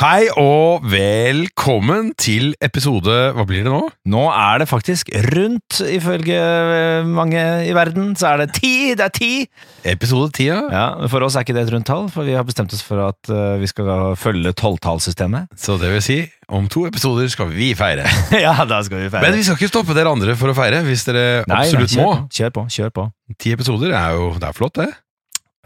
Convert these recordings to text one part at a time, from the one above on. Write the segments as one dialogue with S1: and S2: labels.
S1: Hei og velkommen til episode Hva blir det nå?
S2: Nå er det faktisk rundt, ifølge eh, mange i verden. Så er det ti! Det er ti!
S1: Episode 10, ja.
S2: Ja, men For oss er ikke det et rundt tall, for vi har bestemt oss for at eh, vi skal da følge tolvtallssystemet.
S1: Så det vil si, om to episoder skal vi feire.
S2: ja, da skal vi feire.
S1: Men vi skal ikke stoppe dere andre for å feire, hvis dere
S2: Nei,
S1: absolutt
S2: nei,
S1: må.
S2: kjør På, kjør på. kjør på.
S1: Ti episoder er jo det er flott, det.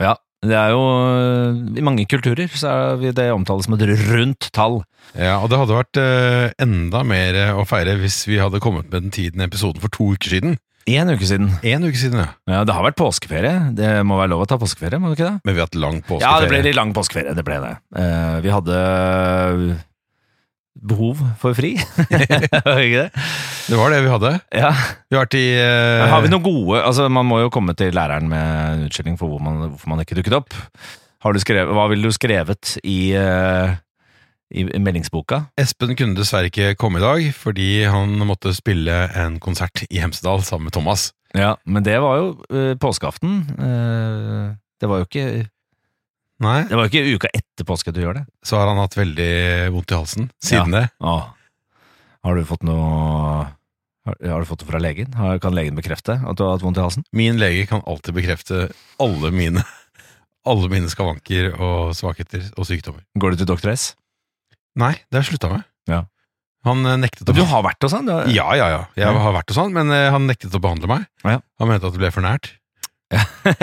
S2: Ja, det er jo eh, I mange kulturer så er vi- det omtales som et rundt tall.
S1: Ja, Og det hadde vært eh, enda mer å feire hvis vi hadde kommet med den tiden episoden for to uker siden.
S2: Én uke siden.
S1: Én uke siden, ja.
S2: Ja, Det har vært påskeferie. Det må være lov å ta påskeferie, må det ikke det?
S1: Men vi har hatt lang
S2: Ja, det ble
S1: påskeferie.
S2: litt lang påskeferie. Det ble det. Eh, vi hadde eh, behov for fri. Var det ikke det?
S1: det var det vi hadde.
S2: Ja.
S1: Vi har vært i eh,
S2: Men Har vi noen gode altså Man må jo komme til læreren med en unnskyldning for hvor man, hvorfor man ikke dukket opp. Har du skrevet, hva ville du skrevet i, eh, i meldingsboka?
S1: Espen kunne dessverre ikke komme i dag fordi han måtte spille en konsert i Hemsedal sammen med Thomas.
S2: Ja, Men det var jo eh, påskeaften. Eh, det var jo ikke
S1: Nei,
S2: Det var jo ikke uka etter påske du gjør det.
S1: så har han hatt veldig vondt i halsen siden det.
S2: Åh. Har du fått noe har, har du fått det fra legen? Har, kan legen bekrefte at du har hatt vondt i halsen?
S1: Min lege kan alltid bekrefte alle mine, alle mine skavanker og svakheter og sykdommer.
S2: Går du til doktor S?
S1: Nei, det har jeg slutta med.
S2: Ja.
S1: Han eh, nektet å
S2: Du har vært hos han? du har-
S1: Ja, ja, ja. Jeg har vært hos han, men eh, han nektet å behandle meg.
S2: Ja.
S1: Han mente at det ble for nært.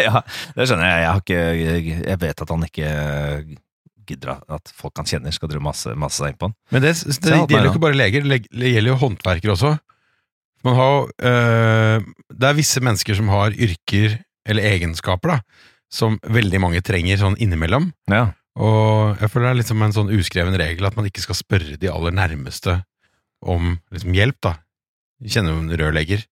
S2: ja, det skjønner jeg. Jeg, har ikke, jeg, jeg vet at han ikke gidder at folk han kjenner skal drive masse, masse seg innpå han.
S1: Men det, det,
S2: jeg har hatt
S1: gjelder
S2: meg,
S1: jo ikke bare leger, det gjelder jo håndverkere også. Man har, jo, eh, det er visse mennesker som har yrker eller egenskaper da, som veldig mange trenger sånn innimellom.
S2: Ja.
S1: Og jeg føler det er litt som en sånn uskreven regel at man ikke skal spørre de aller nærmeste om liksom, hjelp, da. Jeg Kjenner jo en rørlegger.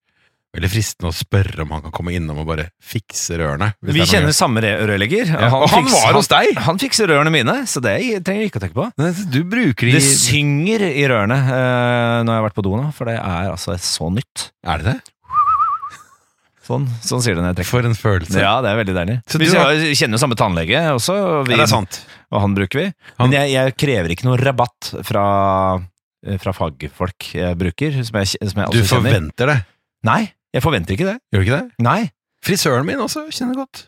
S1: Veldig fristende å spørre om han kan komme innom og bare fikse rørene. hvis
S2: Vi
S1: det er noe
S2: kjenner samme re- rørlegger.
S1: Ja, og han
S2: fikser-
S1: var hos deg!
S2: Han, han fikser rørene mine, så det trenger jeg ikke å tenke på.
S1: gjør. Du bruker de
S2: Det synger i rørene eh, når jeg har vært på do nå, for det er altså så nytt.
S1: Er det det?
S2: Sånn, sånn sier det når jeg trekker.
S1: For en følelse.
S2: Ja, det er veldig deilig.
S1: Så
S2: vi
S1: du har-
S2: kjenner- kjenner jo samme tannlege også, og, vi,
S1: Ja, det er sant.
S2: og han bruker vi.
S1: Han-
S2: Men jeg, jeg krever ikke noe rabatt fra, eh, fra fagfolk jeg bruker, som jeg, som jeg
S1: Du
S2: også kjenner.
S1: forventer det.
S2: Nei, jeg forventer ikke det.
S1: Gjør du ikke det?
S2: Nei.
S1: Frisøren min også kjenner godt.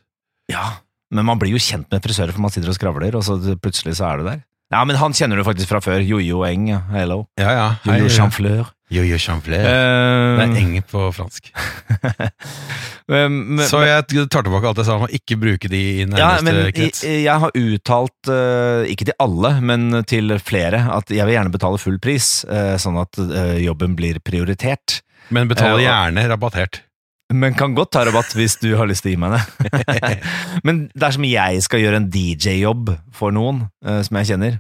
S2: Ja, men man blir jo kjent med frisører, for man sitter og skravler, og så plutselig så er du der. Ja, men han kjenner du faktisk fra før. Jojo Eng, ja. Hello.
S1: Ja, ja.
S2: Jojo Chamfleur.
S1: Jojo Chamfleur. Det er
S2: Uh,
S1: eng på fransk.
S2: men,
S1: Så jeg tar tilbake alt jeg sa om å ikke bruke de i
S2: ja, men
S1: nærmeste
S2: jeg,
S1: krets.
S2: jeg har uttalt, eh, ikke til alle, men til flere, at jeg vil gjerne betale full pris, eh, sånn at eh, jobben blir prioritert.
S1: Men
S2: Eh, og-
S1: betaler gjerne rabattert.
S2: Men kan godt ta rabatt hvis du har lyst til å gi meg det. Men dersom jeg skal gjøre en DJ-jobb for noen eh, som jeg kjenner,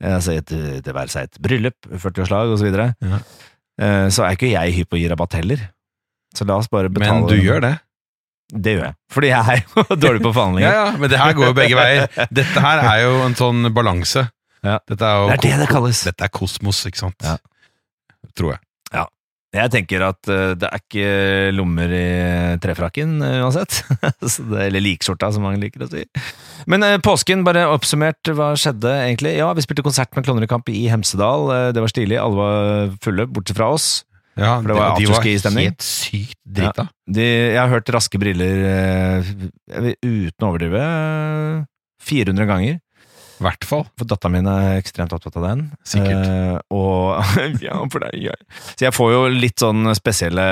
S2: eh, altså et, eh, det være seg et bryllup, 40-årslag osv., så,
S1: Ja.
S2: videre, eh, så er ikke jeg hypp på å gi rabatt heller. Så la oss bare betale
S1: Men du gjør det.
S2: Det gjør jeg. Fordi jeg er jo dårlig på
S1: Ja,
S2: forhandlinger.
S1: ja, men det her går jo begge veier. Dette her er jo en sånn balanse.
S2: Ja.
S1: Dette er jo
S2: Det er det det kalles.
S1: Dette er kosmos, ikke sant?
S2: Ja.
S1: Tror jeg.
S2: Jeg tenker at eh, det er ikke lommer i trefrakken eh, uansett. Så det, eller likskjorta, som mange liker å si. Men eh, påsken, bare oppsummert, hva skjedde egentlig? Ja, vi spilte konsert med Klovner i kamp i Hemsedal. Eh, Det var stilig. Alle var fulle, bortsett fra oss.
S1: Ja, de
S2: det var
S1: var
S2: afterski-stemning.
S1: helt sykt drita.
S2: De, jeg har hørt Raske briller eh, jeg vil- uten å overdrive eh, 400 ganger.
S1: I hvert fall.
S2: For dattera mi er ekstremt opptatt av den.
S1: Sikkert.
S2: Eh, og, ja, for det er gøy. Så jeg får jo litt sånn spesielle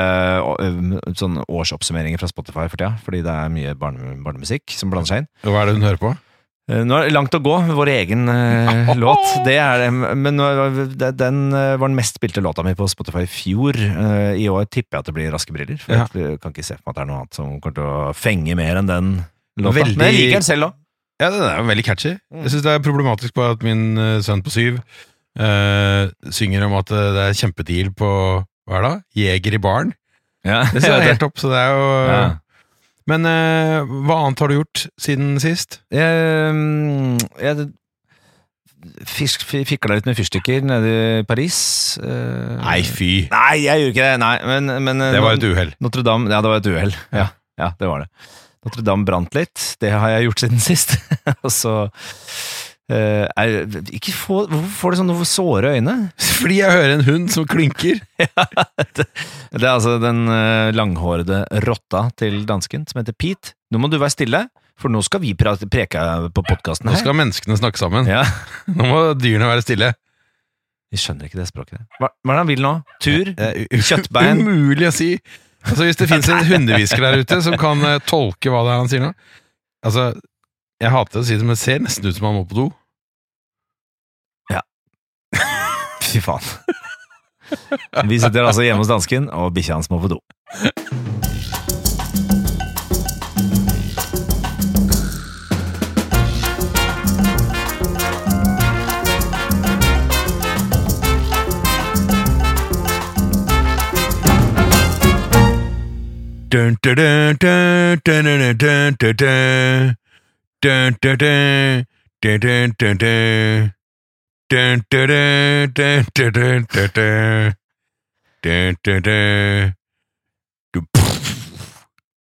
S2: eh, sånn årsoppsummeringer fra Spotify for tida, fordi det er mye barne, barnemusikk som blander seg inn.
S1: Og Hva er det hun hører på?
S2: Eh, nå er det langt å gå med vår egen eh, låt. Det er det, men nå- det- den eh, var den mest spilte låta mi på Spotify i fjor. Eh, I år tipper jeg at det blir Raske briller, for
S1: Ja.
S2: jeg kan ikke se for meg at det er noe annet som kommer til å fenge mer enn den låta.
S1: Veldig-
S2: Men jeg liker den selv òg.
S1: Ja, den er jo veldig catchy.
S2: Mm.
S1: Jeg syns det er problematisk på at min eh, sønn på syv eh, synger om at eh, det er kjempedeal på hva er det? da? Jeger i baren.
S2: Ja.
S1: Det ser helt opp, så det er jo
S2: Ja.
S1: Men eh, hva annet har du gjort siden sist?
S2: Ehm, Jeg fisk, fi- fikla litt med fyrstikker nede i Paris. eh.
S1: fy!
S2: Nei, jeg gjorde ikke det. Nei, men, men eh,
S1: Det var et uhell.
S2: Notre-Dame Ja, det var et uhell. Ja. ja, det var det. Notre-Dame brant litt. Det har jeg gjort siden sist. Og så eh, Eh, er, ikke få, hvorfor får du sånne såre øyne?
S1: Fordi jeg hører en hund som klinker.
S2: Det er altså den eh, langhårede rotta til dansken som heter Pete. Nå må du være stille, for nå skal vi prate, preke på podkasten
S1: Nå
S2: her.
S1: skal menneskene snakke sammen.
S2: Ja,
S1: Nå må dyrene være stille.
S2: Vi skjønner ikke det språket. der. Hva, hva er det han vil nå? Tur?
S1: Eh,
S2: Kjøttbein.
S1: Umulig å si. Altså, hvis det finnes en hundehvisker der ute som kan eh, tolke hva det er han sier nå Altså, jeg hater å si det, men det ser nesten ut som han må på do.
S2: Fy faen. Vi sitter altså hjemme hos dansken, og bikkja hans må på do.
S1: Dun, dun, dun, dun, dun, dun, dun, dun, dun. Dun, dun, dun, dun, dun, dun, dun. Dun, dun, dun, dun, dun, dun, dun, dun. Dun, dun, dun. Du-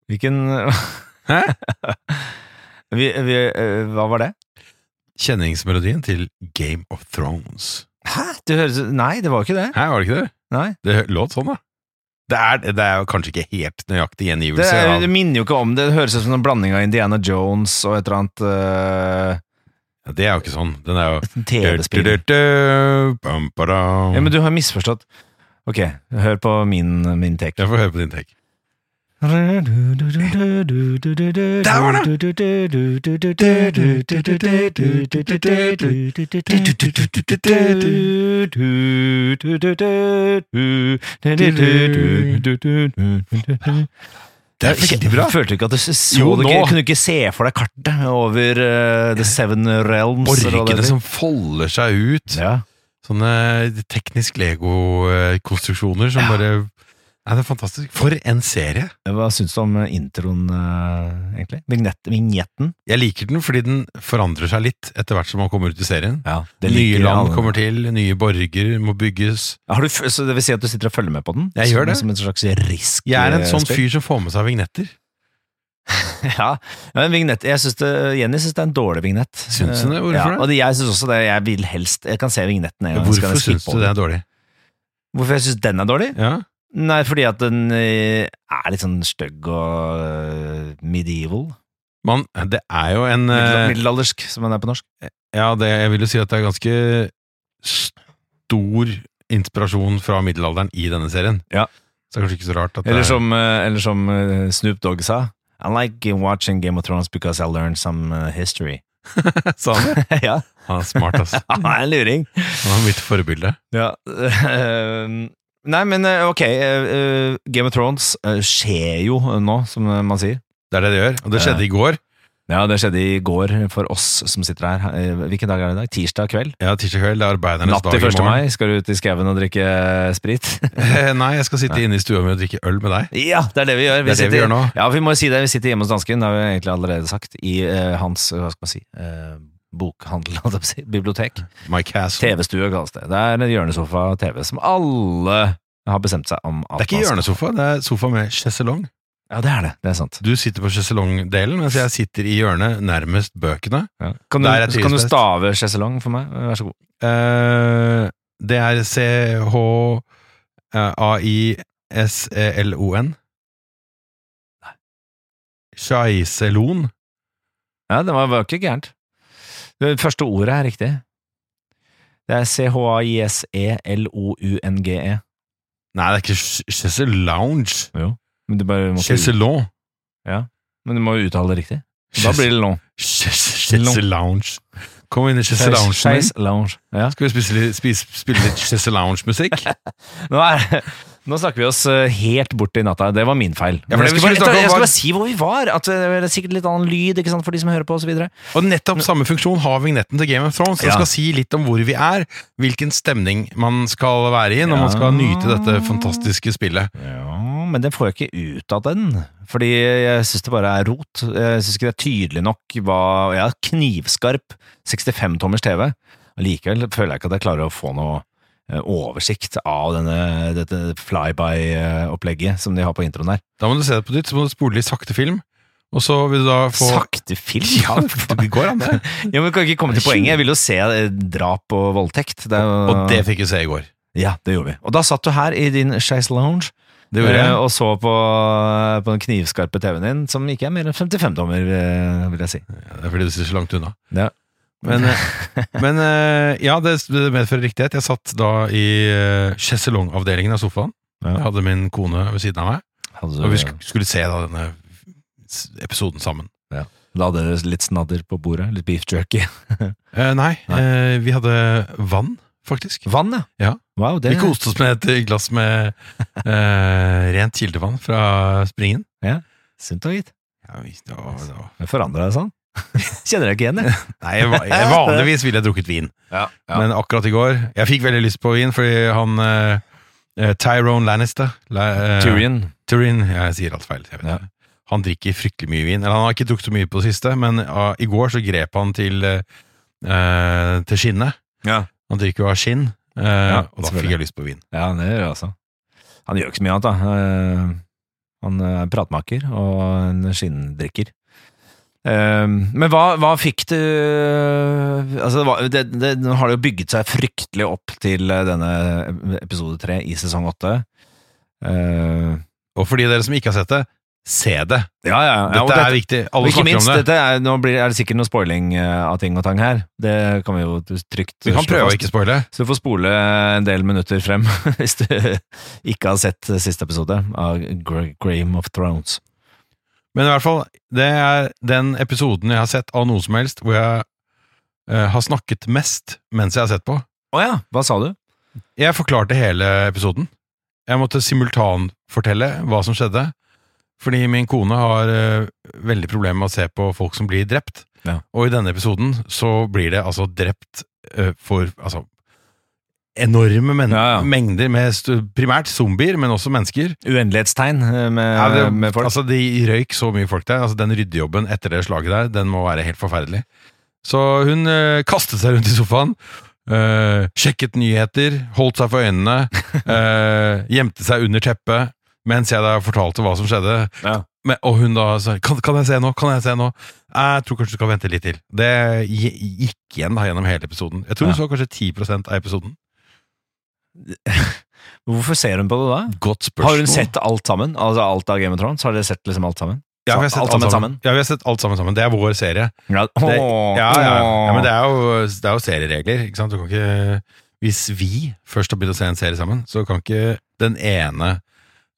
S2: Hvilken
S1: Hæ?
S2: vi, vi, eh, Hva var det?
S1: Kjenningsmelodien til Game of Thrones.
S2: Hæ? Det høres Nei, det var ikke det.
S1: Hæ, var det ikke det?
S2: Nei.
S1: Det hø- låt sånn, da. Det er, det er jo kanskje ikke helt nøyaktig
S2: Det,
S1: gjengivelse.
S2: er,
S1: av-
S2: det minner jo ikke om det. Det høres ut som en blanding av Indiana Jones og et eller annet eh,
S1: Ja, det er jo ikke sånn. Den er jo
S2: TV-spill.
S1: Du-du-du-du, bam, badam.
S2: Ja, men du har misforstått. Ok, hør på min, min take.
S1: Jeg får høre på din take.
S2: Der
S1: var Det er veldig bra.
S2: Følte du ikke at du så
S1: Jo,
S2: det?
S1: nå.
S2: ikke? Kunne du ikke se for deg kartet over eh, The Seven Realms? eller hva det
S1: Borgene
S2: heter?
S1: som folder seg ut.
S2: ja.
S1: Sånne eh, teknisk Lego-konstruksjoner som
S2: Ja.
S1: bare Nei, det er fantastisk. For en serie!
S2: Hva syns du om introen, eh, egentlig? Vignett, vignetten?
S1: Jeg liker den fordi den forandrer seg litt etter hvert som man kommer ut i serien.
S2: Ja,
S1: nye land kommer til, nye borger må bygges.
S2: Har du, f- så det vil si at du sitter og følger med på den?
S1: Jeg
S2: som,
S1: gjør det.
S2: Som en slags risk? eh,
S1: Jeg er en sånn
S2: spill.
S1: fyr som får med seg vignetter.
S2: ja, men vignett, jeg synes det, Jenny syns det er en dårlig vignett.
S1: Syns hun det? Hvorfor
S2: ja,
S1: det?
S2: Og det, jeg syns også det. Jeg vil helst Jeg kan se vignetten en gang. så kan
S1: Hvorfor
S2: jeg skippe
S1: syns du det
S2: over.
S1: er dårlig?
S2: Hvorfor jeg syns den er dårlig?
S1: Ja.
S2: Nei, fordi at den eh, er litt sånn stygg og eh, medieval.
S1: Man, det er jo en
S2: Middel-
S1: eh,
S2: Middelaldersk, som den er på norsk.
S1: Ja, det, jeg vil jo si at det er ganske stor inspirasjon fra middelalderen i denne serien.
S2: Ja.
S1: Så det er kanskje ikke så rart at det
S2: Eller
S1: er
S2: som, eh, eller som eh, Snoop Dogg sa I like watching Game of Thrones because I learned some eh, history.
S1: Sa han det?
S2: ja,
S1: Han er smart, ass.
S2: han er en luring.
S1: Han er mitt forbilde.
S2: Ja. ehm, Nei, men eh, ok, eh, eh, Game of Thrones eh, skjer jo nå, som eh, man sier.
S1: Det er det det gjør. Og det skjedde i går.
S2: Ja, det skjedde i går for oss som sitter her. Eh, Hvilken dag er det i dag? Tirsdag kveld?
S1: Ja, tirsdag kveld. Det er arbeidernes
S2: Natt til
S1: dag
S2: 1. mai. Skal du ut i skauen og drikke eh, sprit?
S1: Eh, Nei, jeg skal sitte inne i stua mi og drikke øl med deg.
S2: ja, det er det vi
S1: Det
S2: gjør.
S1: er det vi
S2: sitter-
S1: gjør nå.
S2: Ja, vi må jo si det. Vi sitter hjemme hos dansken, det har vi egentlig allerede sagt, i eh, hans, hva skal man si, eh, bokhandel, holdt jeg på å si, bibliotek.
S1: My castle.
S2: TV-stue kalles det. Det er en hjørnesofa og TV som alle har bestemt seg om. at
S1: Det er ikke
S2: man skal-
S1: hjørnesofa, det er sofa med sjeselong.
S2: Ja, det er det. Det er sant.
S1: Du sitter på sjeselongdelen, mens jeg sitter i hjørnet nærmest bøkene.
S2: Kan,
S1: Der er
S2: du, kan du
S1: trives best.
S2: stave sjeselong for meg? Vær så god.
S1: Eh, Det er E C-H-A-I-S-E-L-O-N. Chaiselon.
S2: Ja, det var, var ikke gærent. Det første ordet er riktig. Det er E C-H-A-I-S-E-L-O-U-N-G-E.
S1: Nei, det er ikke ch- chaiselounge.
S2: Men du bare må ikke,
S1: Chaiselong.
S2: men du må jo uttale det riktig. Da blir det long.
S1: Chaiselounge. Kom inn i chaiseloungen min.
S2: Scheis lounge. Ja.
S1: Skal vi spise litt, spise, spille litt Chessel Lounge-musikk?
S2: Nå, er, nå snakker vi oss eh, helt bort i natta. Det var min feil.
S1: Ja, for det
S2: jeg,
S1: vi
S2: skal
S1: skulle
S2: bare,
S1: snakke om
S2: jeg
S1: var-
S2: skal bare si hvor vi var. At eh, det er sikkert litt annen lyd ikke sant, for de som hører på, osv.
S1: Og nettopp samme funksjon har vignetten til Game of Thrones. Den
S2: Ja.
S1: skal si litt om hvor vi er, hvilken stemning man skal være i når man
S2: Ja.
S1: skal nyte dette fantastiske spillet.
S2: Ja, men det får jeg ikke ut av den. Fordi jeg syns det bare er rot. Jeg syns ikke det er tydelig nok hva Jeg har knivskarp 65-tommers TV. Allikevel føler jeg ikke at jeg klarer å få noe eh, oversikt av denne, dette flyby-opplegget som de har på introen der.
S1: Da må du se det på nytt, så må du spole i sakte film, Og så vil du da få
S2: Sakte film?
S1: Ja, det går an, det.
S2: Ja, men Kan vi ikke komme til poenget. Jeg vil jo se eh, drap og voldtekt. Det er jo,
S1: Og det fikk vi se i går.
S2: Ja, det gjorde vi. Og da satt du her i din Chaise Lounge
S1: Det gjorde
S2: eh,
S1: jeg.
S2: og så på, på den knivskarpe TV-en din, som ikke er mer enn 55 tommer, eh, vil jeg si.
S1: Ja, Det er fordi du sitter så langt unna.
S2: Ja.
S1: Men, eh, men eh, ja, det det medfører riktighet. Jeg satt da i eh, sjeselongavdelingen av sofaen.
S2: Ja.
S1: Jeg hadde min kone ved siden av meg,
S2: Hadde,
S1: og vi sk- skulle se da denne s- episoden sammen.
S2: Da hadde dere litt snadder på bordet. Litt beef jerky.
S1: Eh, nei,
S2: Nei.
S1: eh, vi hadde vann, faktisk.
S2: Vann, ja.
S1: Ja.
S2: Wow, det,
S1: Vi koste oss med et glass med eh, rent kildevann fra springen.
S2: Sunt og gitt.
S1: Ja, vi, det var, det var.
S2: Det forandra deg sånn. Kjenner deg ikke igjen, jeg.
S1: Nei, jeg, va- jeg, vanligvis ville jeg drukket vin,
S2: Ja,
S1: men akkurat i går Jeg fikk veldig lyst på vin, fordi han eh, eh, Tyrone Lannister la- eh,
S2: Tyrion.
S1: Turin, jeg sier alt feil. Jeg vet
S2: Ja.
S1: det. Han drikker fryktelig mye vin. Eller han har ikke drukket så mye på det siste, men ah, i går så grep han til, eh, eh, til skinnet.
S2: Ja.
S1: Han drikker jo av skinn, eh, og da fikk
S2: selvfølgelig.
S1: jeg lyst på vin.
S2: Ja, det gjør jeg også. Han gjør ikke så mye annet, da. Eh, Han er en pratmaker og en skinndrikker. Eh, Men hva, hva fikk du altså det, var, det, det nå har det jo bygget seg fryktelig opp til eh, denne episode tre i sesong åtte. Eh,
S1: Og for de dere som ikke har sett det, se det.
S2: Ja, ja. ja,
S1: Dette
S2: og dette-
S1: er viktig.
S2: og
S1: Alle
S2: ikke
S1: snakker
S2: minst,
S1: om det.
S2: dette er, nå blir, er det sikkert noe spoiling eh, av ting og tang her. Det kan vi jo trygt
S1: Vi kan
S2: slå
S1: prøve å
S2: fast.
S1: ikke spoile.
S2: Så du får spole en del minutter frem hvis du ikke har sett siste episode av Gr- Game of Thrones.
S1: Men i hvert fall, det er den episoden jeg har sett av noe som helst, hvor jeg eh, har snakket mest mens jeg har sett på.
S2: Å ja, hva sa du?
S1: Jeg forklarte hele episoden. Jeg måtte simultanfortelle hva som skjedde. Fordi min kone har eh, veldig problemer med å se på folk som blir drept.
S2: Ja.
S1: Og i denne episoden så blir det altså drept eh, for altså, enorme men
S2: Ja, ja.
S1: mengder med stu- primært zombier, men også mennesker.
S2: Uendelighetstegn eh, med,
S1: Ja, det,
S2: med folk.
S1: Altså, de røyk så mye folk der. Altså, den ryddejobben etter det slaget der, den må være helt forferdelig. Så hun eh, kastet seg rundt i sofaen, eh, sjekket nyheter, holdt seg for øynene, eh, gjemte seg under teppet, mens jeg da fortalte hva som skjedde.
S2: Ja.
S1: Men, og hun da sa kan, 'Kan jeg se nå? Kan jeg se nå?' Jeg tror kanskje du skal vente litt til. Det gi- gikk igjen da gjennom hele episoden. Jeg tror hun
S2: Ja.
S1: så kanskje 10 av episoden.
S2: Hvorfor ser hun på det da?
S1: Godt spørsmål.
S2: Har hun sett alt sammen? Altså alt av Game of Thrones? Har dere sett liksom alt sammen?
S1: ja, vi har sett alt sammen? Ja, vi har sett alt sammen sammen. Det er vår serie.
S2: Ja,
S1: Det-
S2: Åh,
S1: Ja, ja. ja men det
S2: åh.
S1: er jo, det er jo serieregler. Ikke sant? Du kan ikke, hvis vi først har begynt å se en serie sammen, så kan ikke den ene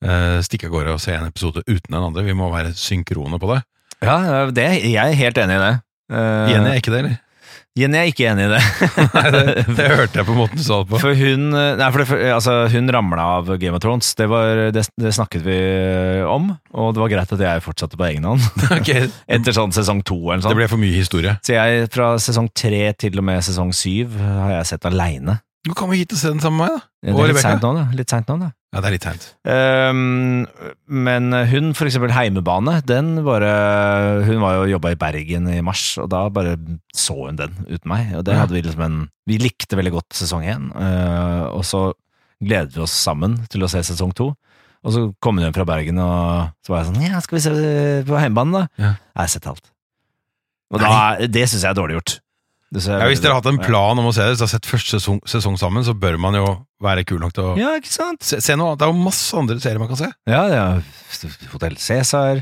S1: eh, stikke av gårde og se en episode uten den andre. Vi må være synkrone på det.
S2: ja, det, jeg er helt enig i det. Eh,
S1: Jenny er ikke det, eller?
S2: Jenny er ikke enig i
S1: Nei, det,
S2: det.
S1: det hørte jeg på måten du sa det på.
S2: For hun, nei, for det, for, altså, hun ramla av Game of Thrones. Det, var, det, det snakket vi om, og det var greit at jeg fortsatte på egen hånd.
S1: Ok,
S2: Etter sånn sesong to eller
S1: Det
S2: sånn.
S1: ble for mye historie.
S2: Så jeg, fra sesong tre til og med sesong syv, har jeg sett aleine.
S1: Du kommer hit og ser den sammen med meg, da.
S2: Det
S1: Og
S2: er litt
S1: Rebecca?
S2: seint nå, da. Litt sent nå, da.
S1: Ja, det er litt teit.
S2: Ehm, men hun, for eksempel Heimebane, den bare Hun var jo jobba i Bergen i mars, og da bare så hun den uten meg. Og det
S1: Ja.
S2: hadde vi liksom en Vi likte veldig godt sesong én, eh, og så gledet vi oss sammen til å se sesong to. Og så kom hun hjem fra Bergen, og så var jeg sånn Ja, skal vi se på Heimebane, da?
S1: Ja.
S2: Jeg har sett alt. Og da, det syns jeg er dårlig gjort. Det synes jeg er
S1: Ja, hvis
S2: veldig
S1: dere har hatt en
S2: dårlig.
S1: plan om å se det, hvis dere har sett første sesong, sesong sammen, så bør man jo være kul nok til å
S2: Ja, ikke sant?
S1: se, se noe annet. Det er jo masse andre serier man kan se.
S2: Ja, ja. Hotell Cæsar.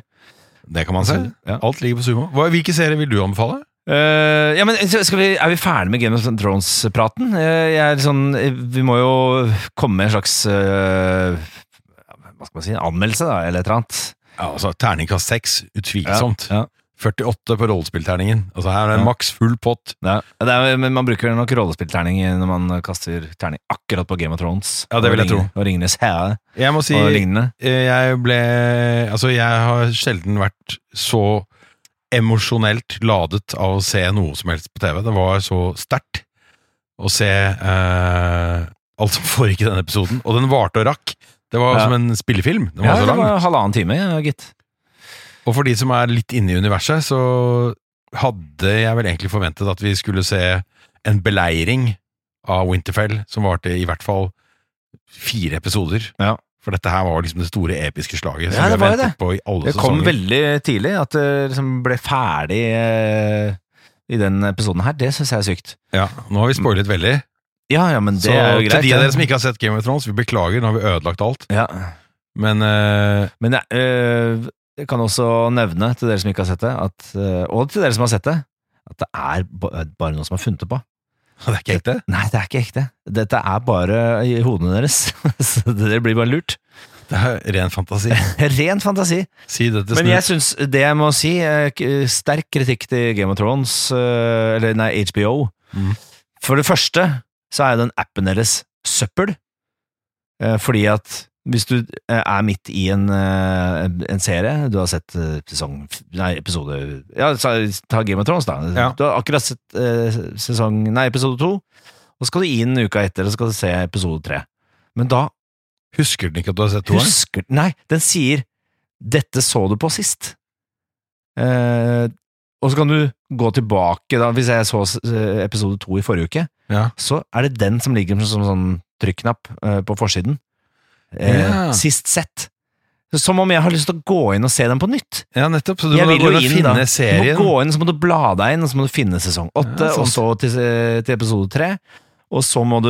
S1: Det kan man se.
S2: Ja.
S1: Alt ligger på sumo. Hva, hvilke serier vil du anbefale?
S2: Eh, ja, men så skal vi, Er vi ferdige med Game of Thrones-praten? Eh, jeg er litt sånn, eh, vi må jo komme med en slags eh, Hva skal man si? Anmeldelse, da, eller et eller annet.
S1: Ja, altså Terningkast seks, utvilsomt.
S2: Ja,
S1: 48 på rollespillterningen. Altså Her er det
S2: Ja.
S1: maks full pott.
S2: ja. Ja, det er, men man bruker nok rollespillterning når man kaster terning akkurat på Game of Thrones.
S1: Ja, det vil jeg
S2: og Ring- Og Ringenes herre
S1: Jeg må si
S2: og
S1: eh,
S2: lignende.
S1: jeg ble Altså, jeg har sjelden vært så emosjonelt ladet av å se noe som helst på TV. Det var så sterkt å se eh, alt som foregikk i denne episoden. Og den varte og rakk. Det var
S2: Ja.
S1: som en spillefilm. Den var
S2: Ja,
S1: så
S2: det
S1: lang.
S2: var halvannen time, ja, gitt.
S1: Og for de som er litt inne i universet, så hadde jeg vel egentlig forventet at vi skulle se en beleiring av Winterfell, som varte i hvert fall fire episoder.
S2: Ja.
S1: For dette her var jo liksom det store episke slaget som vi
S2: Ja, det
S1: har
S2: var jo
S1: ventet på i alle
S2: Det kom
S1: sesonger.
S2: veldig tidlig at det liksom ble ferdig eh, i den episoden her. Det syns jeg er sykt.
S1: Ja, nå har vi spoilet veldig.
S2: Ja, ja, men det
S1: Så
S2: er jo greit.
S1: til de
S2: det.
S1: av dere som ikke har sett Game of Thrones, vi beklager, nå har vi ødelagt alt.
S2: ja.
S1: Men eh,
S2: Men jeg, eh, jeg kan også nevne til dere som ikke har sett det, at, eh, og til dere som har sett det, at det er ba- bare noe som er funnet på.
S1: det er ikke ekte.
S2: Nei, det er ikke ekte. Dette er bare i hodene deres. Så dere blir bare lurt.
S1: Det er ren fantasi.
S2: Ren fantasi.
S1: Si det til
S2: Men
S1: Snoop.
S2: jeg syns det jeg må si, eh, k- sterk kritikk til Game of Thrones, eh, eller nei, HBO.
S1: Mhm.
S2: For det første så er jo den appen deres søppel. Eh, Fordi at hvis du eh, er midt i en, eh, en serie, du har sett eh, sesong Nei, episode Ja, sa- ta Game of Thrones, da.
S1: Ja.
S2: Du har akkurat sett eh, sesong Nei, episode to. Og så skal du inn uka etter og så skal du se episode tre. Men da
S1: Husker den ikke at du har sett toeren?
S2: Husker Nei, den sier 'Dette så du på sist'. Eh, og så kan du gå tilbake, da, hvis jeg så eh, episode to i forrige uke,
S1: Ja.
S2: så er det den som ligger som sånn trykknapp eh, på forsiden. Eh,
S1: Ja.
S2: Sist sett. Som om jeg har lyst til å gå inn og se den på nytt.
S1: ja, nettopp. Så du
S2: Jeg
S1: må
S2: vil
S1: gå
S2: jo
S1: inn og
S2: inn,
S1: finne
S2: da. Du
S1: serien.
S2: må gå inn, så må du bla deg inn, og så må du finne sesong åtte,
S1: Ja, sant.
S2: og så til, eh, til episode tre. Og så, må du,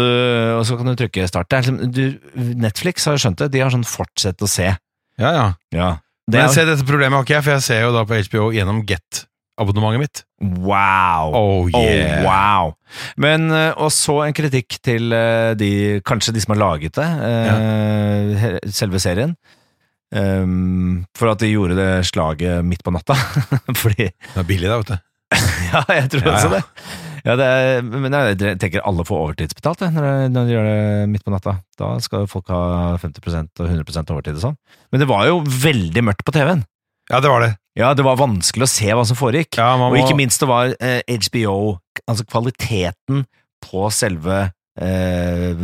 S2: og så kan du trykke start. Det er liksom, du, Netflix har jo skjønt det. De har sånn 'fortsett å se'.
S1: Ja, ja.
S2: Ja. Det
S1: Men
S2: er,
S1: se, dette problemet har ikke jeg, for jeg ser jo da på HBO gjennom Get-abonnementet mitt.
S2: wow!
S1: Oh
S2: Oh,
S1: yeah!
S2: wow! Men, eh, og så en kritikk til eh, de, kanskje de som har laget det, eh, he- selve serien. Ehm, for at de gjorde det slaget midt på natta. Fordi
S1: Det er billig, da, vet du.
S2: Ja, jeg tror
S1: Ja,
S2: også
S1: ja.
S2: det. Ja, det er, men jeg tenker alle får overtidsbetalt jeg, når, de- når de gjør det midt på natta. Da skal jo folk ha 50 og 100 overtid og sånn. Men det var jo veldig mørkt på TV-en.
S1: Ja, det var det.
S2: Ja, det var vanskelig å se hva som foregikk.
S1: Ja, man
S2: og
S1: må-
S2: ikke minst det var eh, HBO, altså kvaliteten på selve eh,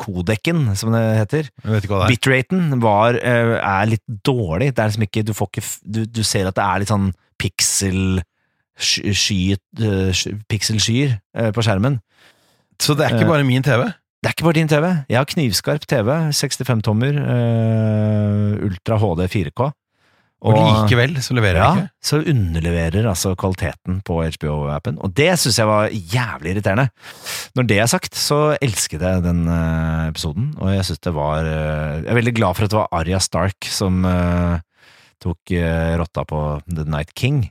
S2: kodekken, som det heter.
S1: Jeg vet ikke hva det er.
S2: Bitraten var, eh, er litt dårlig. Det er liksom ikke, du, får ikke f- du, du ser at det er litt sånn pixel sky, sky, eh, sky- pikselskyer eh, på skjermen.
S1: Så det er
S2: Eh,
S1: ikke bare min TV.
S2: Det er ikke bare din TV. Jeg har knivskarp TV, 65 tommer, eh, Ultra HD 4K.
S1: Og likevel så leverer
S2: ja,
S1: jeg ikke.
S2: så underleverer altså kvaliteten på HBO-appen. Og det syns jeg var jævlig irriterende. Når det er sagt, så elsket jeg den eh, episoden, og jeg synes det var eh, Jeg er veldig glad for at det var Arya Stark som eh, tok eh, rotta på The Night King.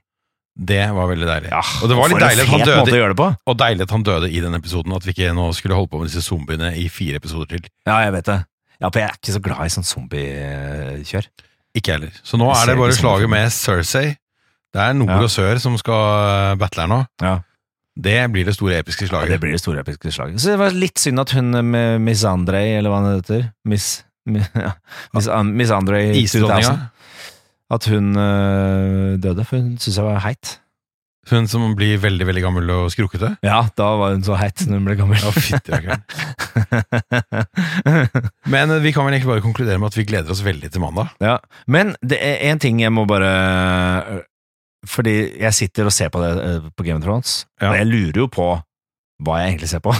S1: Det var veldig deilig.
S2: Ja,
S1: Og det var litt
S2: for en
S1: deilig at han
S2: fet
S1: døde-
S2: måte å gjøre det på.
S1: Og deilig at han døde i den episoden, at vi ikke nå skulle holde på med disse zombiene i fire episoder til.
S2: Ja, jeg vet det. Ja, for jeg er ikke så glad i sånn zombiekjør.
S1: Ikke heller. Så nå
S2: Jeg
S1: er det
S2: ser
S1: bare
S2: ikke sånn
S1: slaget
S2: film.
S1: med Cersei. Det er nord
S2: Ja.
S1: og sør som skal eh, battle her nå.
S2: Ja.
S1: Det blir det store episke
S2: Ja, det
S1: slaget.
S2: blir det store episke slaget. Så det var litt synd at hun eh, med Miss Andrei, eller hva hun heter Miss, mi- ja, Miss, An- Miss Andrei 2000.
S1: Isdronninga,
S2: at hun øh, døde, for hun syntes jeg var heit.
S1: hun som blir veldig veldig gammel og skrukkete.
S2: Ja, da var hun så heit når hun ble gammel.
S1: Ja, fytti rakkeren. Men eh, vi kan vel egentlig bare konkludere med at vi gleder oss veldig til mandag.
S2: ja. Men det er én ting jeg må bare Fordi jeg sitter og ser på det øh, på Game of Thrones,
S1: Ja.
S2: og jeg lurer jo på hva jeg egentlig ser på.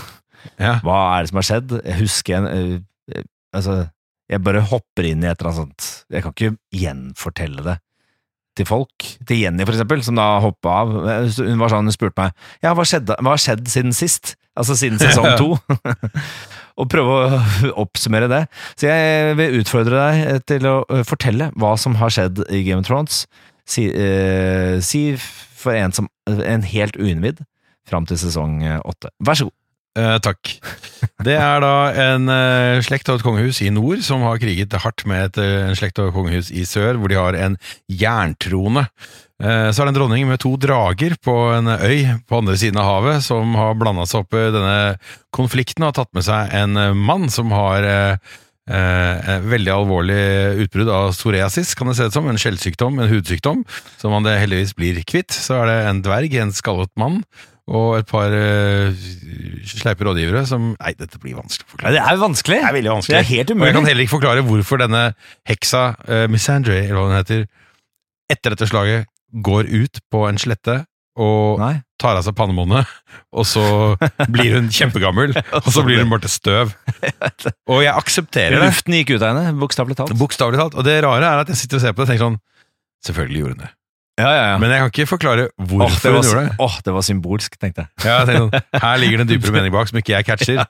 S1: Ja.
S2: Hva er det som har skjedd? Jeg husker en øh, øh, Altså, jeg bare hopper inn i et eller annet sånt. Jeg kan ikke gjenfortelle det til folk. Til Jenny, for eksempel, som da hoppa av. Hun var sånn, hun spurte meg Ja, hva skjedde- hva har skjedd siden sist? Altså siden sesong to. og prøve å oppsummere det. Så jeg vil utfordre deg til å øh, fortelle hva som har skjedd i Game of Thrones. Si, eh, si for en, som, en helt uinnvidd fram til sesong eh, åtte. Vær så god.
S1: Eh, takk. Det er da en eh, slekt og et kongehus i nord som har kriget hardt med et, eh, en slekt og et kongehus i sør, hvor de har en jerntrone. Eh, så er det en dronning med to drager på en øy på andre siden av havet som har blanda seg opp i denne konflikten og har tatt med seg en eh, mann som har eh, eh, et veldig alvorlig utbrudd av psoriasis, kan det se ut som. En skjellsykdom, en hudsykdom, som han det heldigvis blir kvitt. Så er det en dverg, en skallet mann, og et par eh, sleipe rådgivere som Nei, dette blir vanskelig å forklare.
S2: det er vanskelig.
S1: Det er veldig vanskelig.
S2: Det er helt
S1: Og jeg kan
S2: umulig.
S1: heller ikke forklare hvorfor denne heksa, eh, uh, Missandre, eller hva hun heter, etter dette slaget går ut på en slette og
S2: Nei.
S1: tar av seg pannebåndet, og så blir hun kjempegammel, og så blir hun bare til støv. Og jeg aksepterer det,
S2: Luften gikk ut av henne, bokstavelig talt.
S1: bokstavelig talt. Og det rare er at jeg sitter og ser på det og tenker sånn Selvfølgelig gjorde hun det.
S2: Ja, ja, ja.
S1: Men jeg kan ikke forklare
S2: Åh, det
S1: hvorfor hun
S2: var,
S1: gjorde det.
S2: åh, det var symbolsk, tenkte jeg.
S1: Ja, jeg tenker sånn, her ligger det en dypere mening bak som ikke jeg catcher.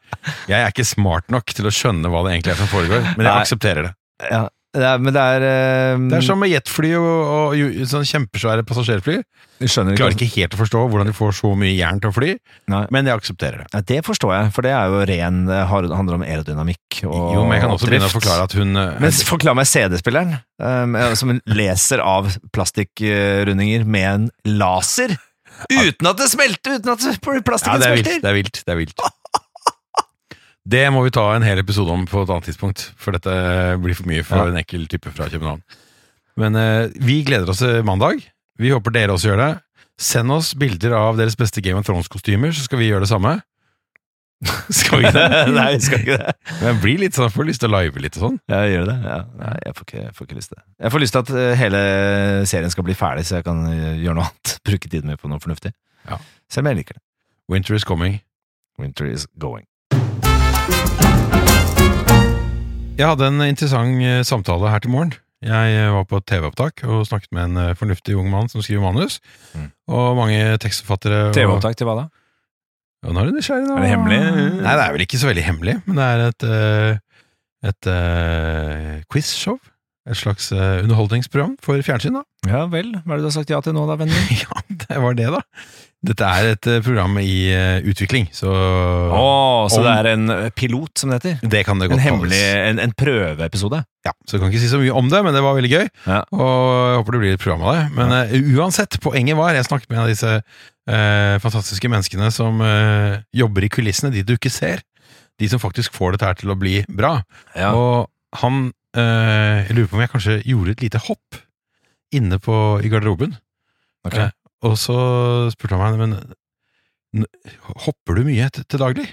S1: Jeg er ikke smart nok til å skjønne hva det egentlig er som foregår, men jeg
S2: Nei.
S1: aksepterer det.
S2: Ja, det er, men det er, eh,
S1: Det er som med jetfly og, og, jo- sånn kjempesvære passasjerfly.
S2: Jeg skjønner
S1: Jeg klarer ikke helt å forstå hvordan de får så mye jern til å fly,
S2: Nei.
S1: men jeg aksepterer det.
S2: Ja, det forstår jeg, for det er jo ren Det har- handler om aerodynamikk og
S1: Jo, men jeg kan også begynne å
S2: oppdrift.
S1: forklare at hun eh,
S2: Men forklar meg CD-spilleren, eh, som leser av plastikkrundinger med en laser! Uten at det smelter! Uten at
S1: Ja,
S2: plastikken
S1: det er vilt.
S2: smelter!
S1: Det er vilt. Det er vilt. Det må vi ta en hel episode om på et annet tidspunkt, for dette blir for mye for
S2: Ja.
S1: en ekkel type fra København. Men eh, vi gleder oss til mandag. Vi håper dere også gjør det. Send oss bilder av deres beste Game of Thrones-kostymer, så skal vi gjøre det samme. skal vi ikke det?
S2: Nei, vi skal ikke det.
S1: Men jeg blir litt sånn, får lyst til å live litt og sånn.
S2: Ja, gjør det? Ja. Nei, jeg får, ikke, jeg får ikke lyst til det. Jeg får lyst til at eh, hele serien skal bli ferdig, så jeg kan eh, gjøre noe annet. Bruke tiden min på noe fornuftig.
S1: Ja.
S2: Selv om jeg liker det.
S1: Winter is coming.
S2: Winter is going.
S1: Jeg hadde en interessant eh, samtale her til morgen. Jeg eh, var på et TV-opptak og snakket med en eh, fornuftig ung mann som skriver manus,
S2: Mm.
S1: og mange tekstforfattere. og-
S2: til hva da?
S1: Ja, nå er du nysgjerrig, da.
S2: Er det hemmelig?
S1: Nei, det er vel ikke så veldig hemmelig, men det er et, eh, et eh, quizshow. Et slags eh, underholdningsprogram for fjernsyn, da.
S2: Ja vel, hva er det du har sagt ja til nå da, vennen min?
S1: ja, det var det, da. Dette er et eh, program i eh, utvikling, så
S2: Å, så
S1: Om-
S2: det er en eh, pilot, som det heter.
S1: det kan det
S2: En
S1: godt
S2: hemmelig,
S1: kalles.
S2: en, en prøveepisode.
S1: Ja, så jeg kan ikke si så mye om det, men det var veldig gøy.
S2: Ja.
S1: Og jeg håper det blir et program av det. Men eh, uansett, poenget var Jeg snakket med en av disse eh, fantastiske menneskene som eh, jobber i kulissene, de du ikke ser. De som faktisk får dette her til å bli bra.
S2: Ja.
S1: Og han eh, Jeg lurer på om jeg kanskje gjorde et lite hopp inne på, i garderoben.
S2: Ok.
S1: Eh, og så spurte han meg Men n- hopper du mye til, til daglig?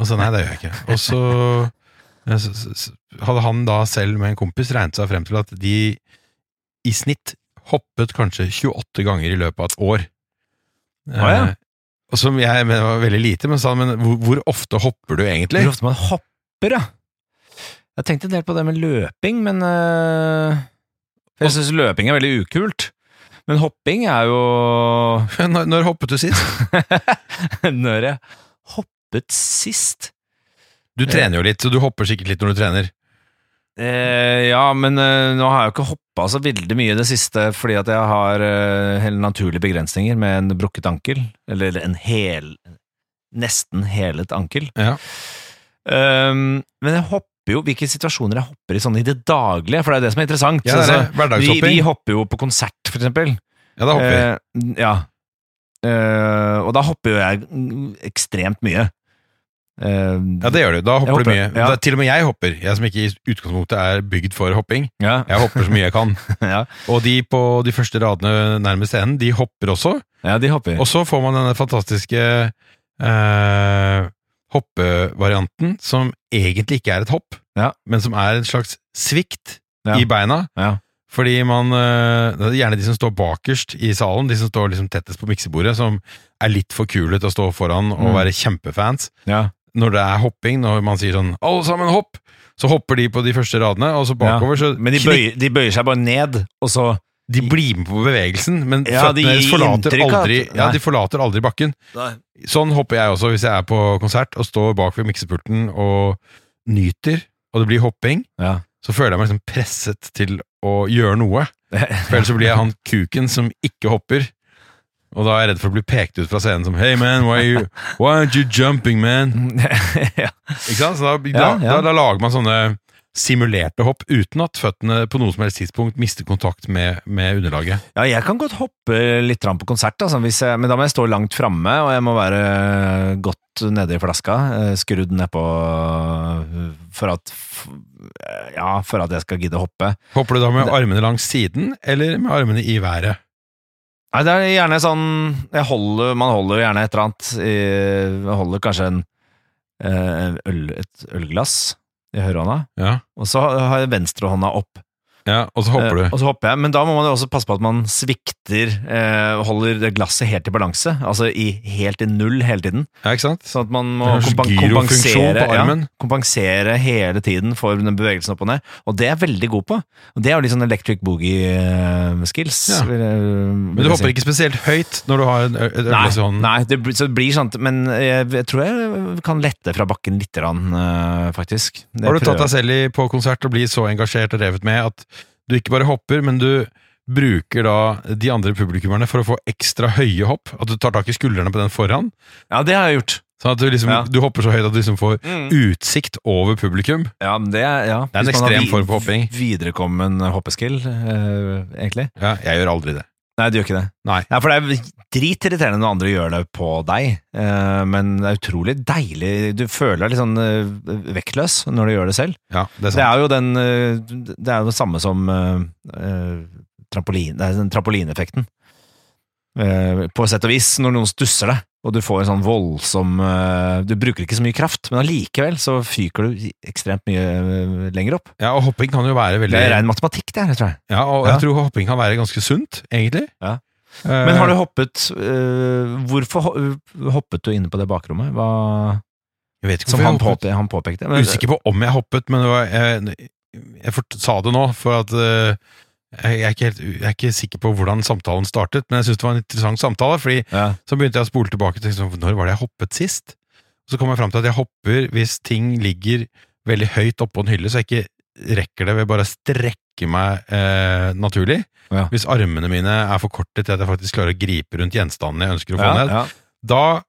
S1: og så nei, det gjør jeg ikke. Og så, eh, så, så, så hadde han da selv med en kompis regnet seg frem til at de i snitt hoppet kanskje 28 ganger i løpet av et år.
S2: Å, ja.
S1: Eh, og som jeg mener var veldig lite, men sa han, men hvor, hvor ofte hopper du egentlig?
S2: Hvor ofte man hopper, ja. Jeg tenkte en del på det med løping, men eh, for Jeg syns løping er veldig ukult. Men hopping er jo
S1: Når, når hoppet du sist?
S2: Når jeg hoppet sist
S1: Du trener jo litt, så du hopper sikkert litt når du trener.
S2: eh, Ja, men eh, nå har jeg jo ikke hoppa så veldig mye i det siste fordi at jeg har eh, helt naturlige begrensninger med en brukket ankel. Eller en hel Nesten helet ankel.
S1: Ja.
S2: Um, men jeg hopper jo Hvilke situasjoner jeg hopper i sånn i det daglige, for det er jo det som er interessant.
S1: Ja, det er
S2: Altså,
S1: det.
S2: vi, vi
S1: Hverdagshopping.
S2: hopper jo på konsert, for eksempel.
S1: Ja, da hopper vi.
S2: Eh, ja. Eh, og da hopper jo jeg mm, ekstremt mye. Eh,
S1: Ja, det gjør du. Da hopper
S2: Jeg
S1: du mye.
S2: hopper, ja.
S1: Da, til og med jeg hopper. Jeg som ikke i utgangspunktet er bygd for hopping.
S2: ja,
S1: Jeg hopper så mye jeg kan.
S2: ja,
S1: Og de på de første radene nærmest enden, de hopper også.
S2: ja, de hopper.
S1: Og så får man denne fantastiske eh, hoppevarianten, som egentlig ikke er et hopp,
S2: Ja.
S1: men som er en slags svikt
S2: Ja.
S1: i beina.
S2: Ja.
S1: Fordi man eh, Det er gjerne de som står bakerst i salen, de som står liksom tettest på miksebordet, som er litt for kule til å stå foran og
S2: Mm.
S1: være kjempefans.
S2: ja.
S1: når det er hopping, når man sier sånn 'alle sammen hopp', så hopper de på de første radene, og så bakover så
S2: Men de
S1: klik-
S2: bøyer, de bøyer seg bare ned, og så
S1: de blir med på bevegelsen, men
S2: Ja, de
S1: føttene deres
S2: gir
S1: forlater
S2: inntrykk av
S1: aldri,
S2: at-
S1: ja,
S2: nei.
S1: de forlater aldri bakken. Sånn hopper jeg også hvis jeg er på konsert og står bak ved miksepulten og nyter, og det blir hopping,
S2: Ja.
S1: så føler jeg meg liksom presset til å gjøre noe. For ellers så blir jeg han kuken som ikke hopper. Og da er jeg redd for å bli pekt ut fra scenen som 'Hey man, why, are you, why aren't you jumping, man?'
S2: ja.
S1: Ikke sant? Så da,
S2: Ja,
S1: da,
S2: ja.
S1: da, da lager man sånne simulerte hopp uten at føttene på noe som helst tidspunkt mister kontakt med, med underlaget.
S2: ja, jeg kan godt hoppe litt grann på konsert, altså, hvis jeg, men da må jeg stå langt framme, og jeg må være godt nede i flaska, eh, skrudd nedpå eh, for at f- Ja, for at jeg skal gidde å hoppe.
S1: Hopper du da med
S2: Det-
S1: armene langs siden, eller med armene i været?
S2: Nei, det er gjerne sånn jeg holder, Man holder jo gjerne et eller annet i- Man holder kanskje en, eh, en øl, et ølglass i høyrehånda,
S1: Ja.
S2: og så har jeg venstrehånda opp.
S1: Ja, og så hopper du.
S2: Eh, Og så hopper jeg, men da må man jo også passe på at man svikter, eh, holder det glasset helt i balanse, altså i, helt i null hele tiden.
S1: Ja, ikke sant?
S2: Sånn at man må
S1: Det er en slags
S2: kompen-
S1: gyrofunksjon
S2: kompensere,
S1: på
S2: ja,
S1: armen.
S2: kompensere hele tiden for den bevegelsen opp og ned. Og det er jeg veldig god på. Og det er jo litt sånn electric eh, boogie-skills.
S1: Ja. Men du hopper ikke spesielt høyt når du har en ø- et
S2: Nei,
S1: ølglass i hånden.
S2: nei det, blir- så det blir sånn, men jeg, jeg tror jeg kan lette fra bakken litt, grann, eh, faktisk. Det
S1: Har du
S2: prøver
S1: tatt deg selv i på konsert og blir så engasjert og revet med at du ikke bare hopper, men du bruker da de andre publikummerne for å få ekstra høye hopp? At du tar tak i skuldrene på den foran?
S2: jeg. Ja, det har jeg gjort.
S1: Sånn at du, liksom,
S2: Ja. Mm.
S1: du hopper så høyt at du liksom får utsikt over publikum?
S2: Ja, men det er, ja.
S1: Det er en
S2: Hvis man har
S1: ekstrem
S2: vi-
S1: form for hopping.
S2: Viderekommen hoppeskill, eh, egentlig.
S1: Ja, jeg gjør aldri det.
S2: Nei, det gjør ikke det.
S1: Nei.
S2: Ja, for det er dritirriterende når andre gjør det på deg, eh, men det er utrolig deilig. Du føler deg litt sånn eh, vektløs når du gjør det selv.
S1: Ja, det er
S2: Det
S1: sant.
S2: er jo den eh, Det er jo det samme som eh, eh, trampolin, det er den trampolineffekten. Eh, På sett og vis, når noen stusser deg, og du får en sånn voldsom eh, Du bruker ikke så mye kraft, men allikevel så fyker du ekstremt mye eh, lenger opp.
S1: Ja, og hopping kan jo være
S2: Det
S1: veldig
S2: er rein matematikk, det her, tror jeg.
S1: Ja, og
S2: Ja.
S1: jeg tror hopping kan være ganske sunt, egentlig.
S2: Ja.
S1: Eh,
S2: Men har du hoppet eh, Hvorfor ho- hoppet du inne på det bakrommet? Hva,
S1: Jeg vet ikke
S2: som
S1: hvorfor
S2: han,
S1: jeg hoppet.
S2: påpe, han påpekte. Men,
S1: Usikker på om jeg hoppet, men det var, jeg, jeg fort, sa det nå, for at eh, jeg, jeg, er ikke helt, jeg er ikke sikker på hvordan samtalen startet, men jeg syns det var en interessant samtale. fordi
S2: Ja.
S1: så begynte jeg å spole tilbake og tenkte sånn, når var det jeg hoppet sist? Så kom jeg fram til at jeg hopper hvis ting ligger veldig høyt oppå en hylle, så jeg ikke rekker det ved bare å strekke meg eh, naturlig.
S2: Ja.
S1: Hvis armene mine er for korte til at jeg faktisk klarer å gripe rundt gjenstandene jeg ønsker å få
S2: Ja,
S1: ned,
S2: ja.
S1: da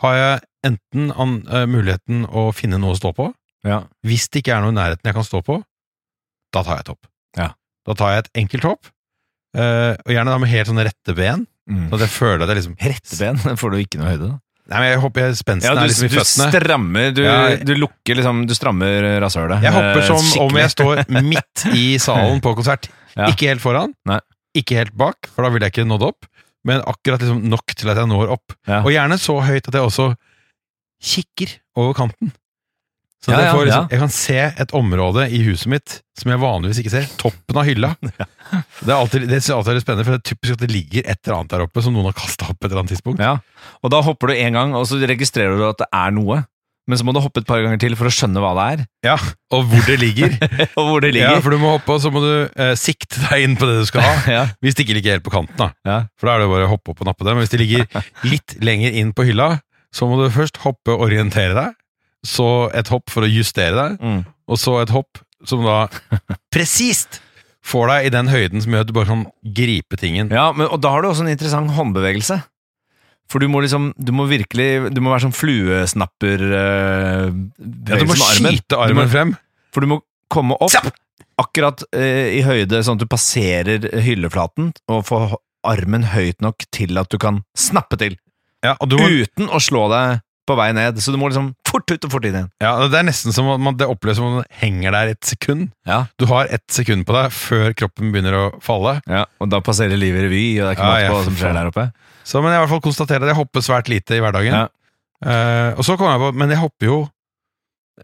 S1: har jeg enten an, eh, muligheten å finne noe å stå på,
S2: Ja.
S1: hvis det ikke er noe i nærheten jeg kan stå på, da tar jeg et hopp.
S2: Ja.
S1: Da tar jeg et enkelt hopp, eh, og gjerne da med helt sånne rette ben,
S2: Mm.
S1: sånn at jeg føler at jeg liksom
S2: Retteben får du ikke noe høyde, da. Sånn
S1: Nei, men jeg hopper jeg- spensten
S2: Ja, du,
S1: er liksom i
S2: du
S1: føttene.
S2: strammer, du,
S1: Ja.
S2: du lukker liksom Du strammer rasshølet.
S1: Jeg hopper
S2: eh,
S1: som om
S2: skikkelig.
S1: jeg står midt i salen på konsert.
S2: Ja.
S1: Ikke helt foran,
S2: Nei.
S1: ikke helt bak, for da ville jeg ikke nådd opp. Men akkurat liksom nok til at jeg når opp.
S2: Ja.
S1: Og gjerne så høyt at jeg også kikker over kanten. Så
S2: Ja,
S1: at jeg,
S2: ja,
S1: får liksom,
S2: ja.
S1: jeg kan se et område i huset mitt som jeg vanligvis ikke ser. Toppen av hylla. Det, er alltid, det synes jeg alltid er litt spennende, for det er typisk at det ligger et eller annet der oppe som noen har kasta opp et eller annet tidspunkt.
S2: Ja. Og da hopper du én gang, og så registrerer du at det er noe. Men så må du hoppe et par ganger til for å skjønne hva det er,
S1: Ja, Og hvor det ligger.
S2: og hvor det
S1: ja,
S2: ligger.
S1: for du må hoppe, og så må du eh, sikte deg inn på det du skal ha.
S2: Ja.
S1: Hvis det ikke ligger helt på kanten, da.
S2: Ja.
S1: For da er det jo bare å hoppe opp og nappe det. Men hvis det ligger litt lenger inn på hylla, så må du først hoppe og orientere deg, så et hopp for å justere deg,
S2: Mm.
S1: og så et hopp som da presist får deg i den høyden som gjør at du bare kan gripe tingen.
S2: Ja, men, og da har du også en interessant håndbevegelse. For du må liksom, du må virkelig, du må være sånn fluesnapper eh,
S1: Ja, du må
S2: bevegelsen med armen.
S1: skyte armen
S2: Du må-
S1: frem.
S2: For du må komme opp
S1: Zapp!
S2: akkurat eh, i høyde, sånn at du passerer hylleflaten, og får h- armen høyt nok til at du kan snappe til,
S1: Ja, og du må,
S2: uten å slå deg på vei ned. Så du må liksom fort ut og fort inn igjen.
S1: ja, det er nesten som at man, det oppleves som om man henger der et sekund.
S2: Ja.
S1: Du har ett sekund på deg før kroppen begynner å falle.
S2: Og da passerer livet i revy, og det er ikke
S1: Ja,
S2: måte
S1: ja,
S2: på hva
S1: for
S2: som skjer
S1: faen.
S2: der oppe.
S1: Så, men jeg har i hvert fall konstatert at jeg hopper svært lite i hverdagen.
S2: Ja.
S1: Eh, og så kom jeg på, men jeg hopper jo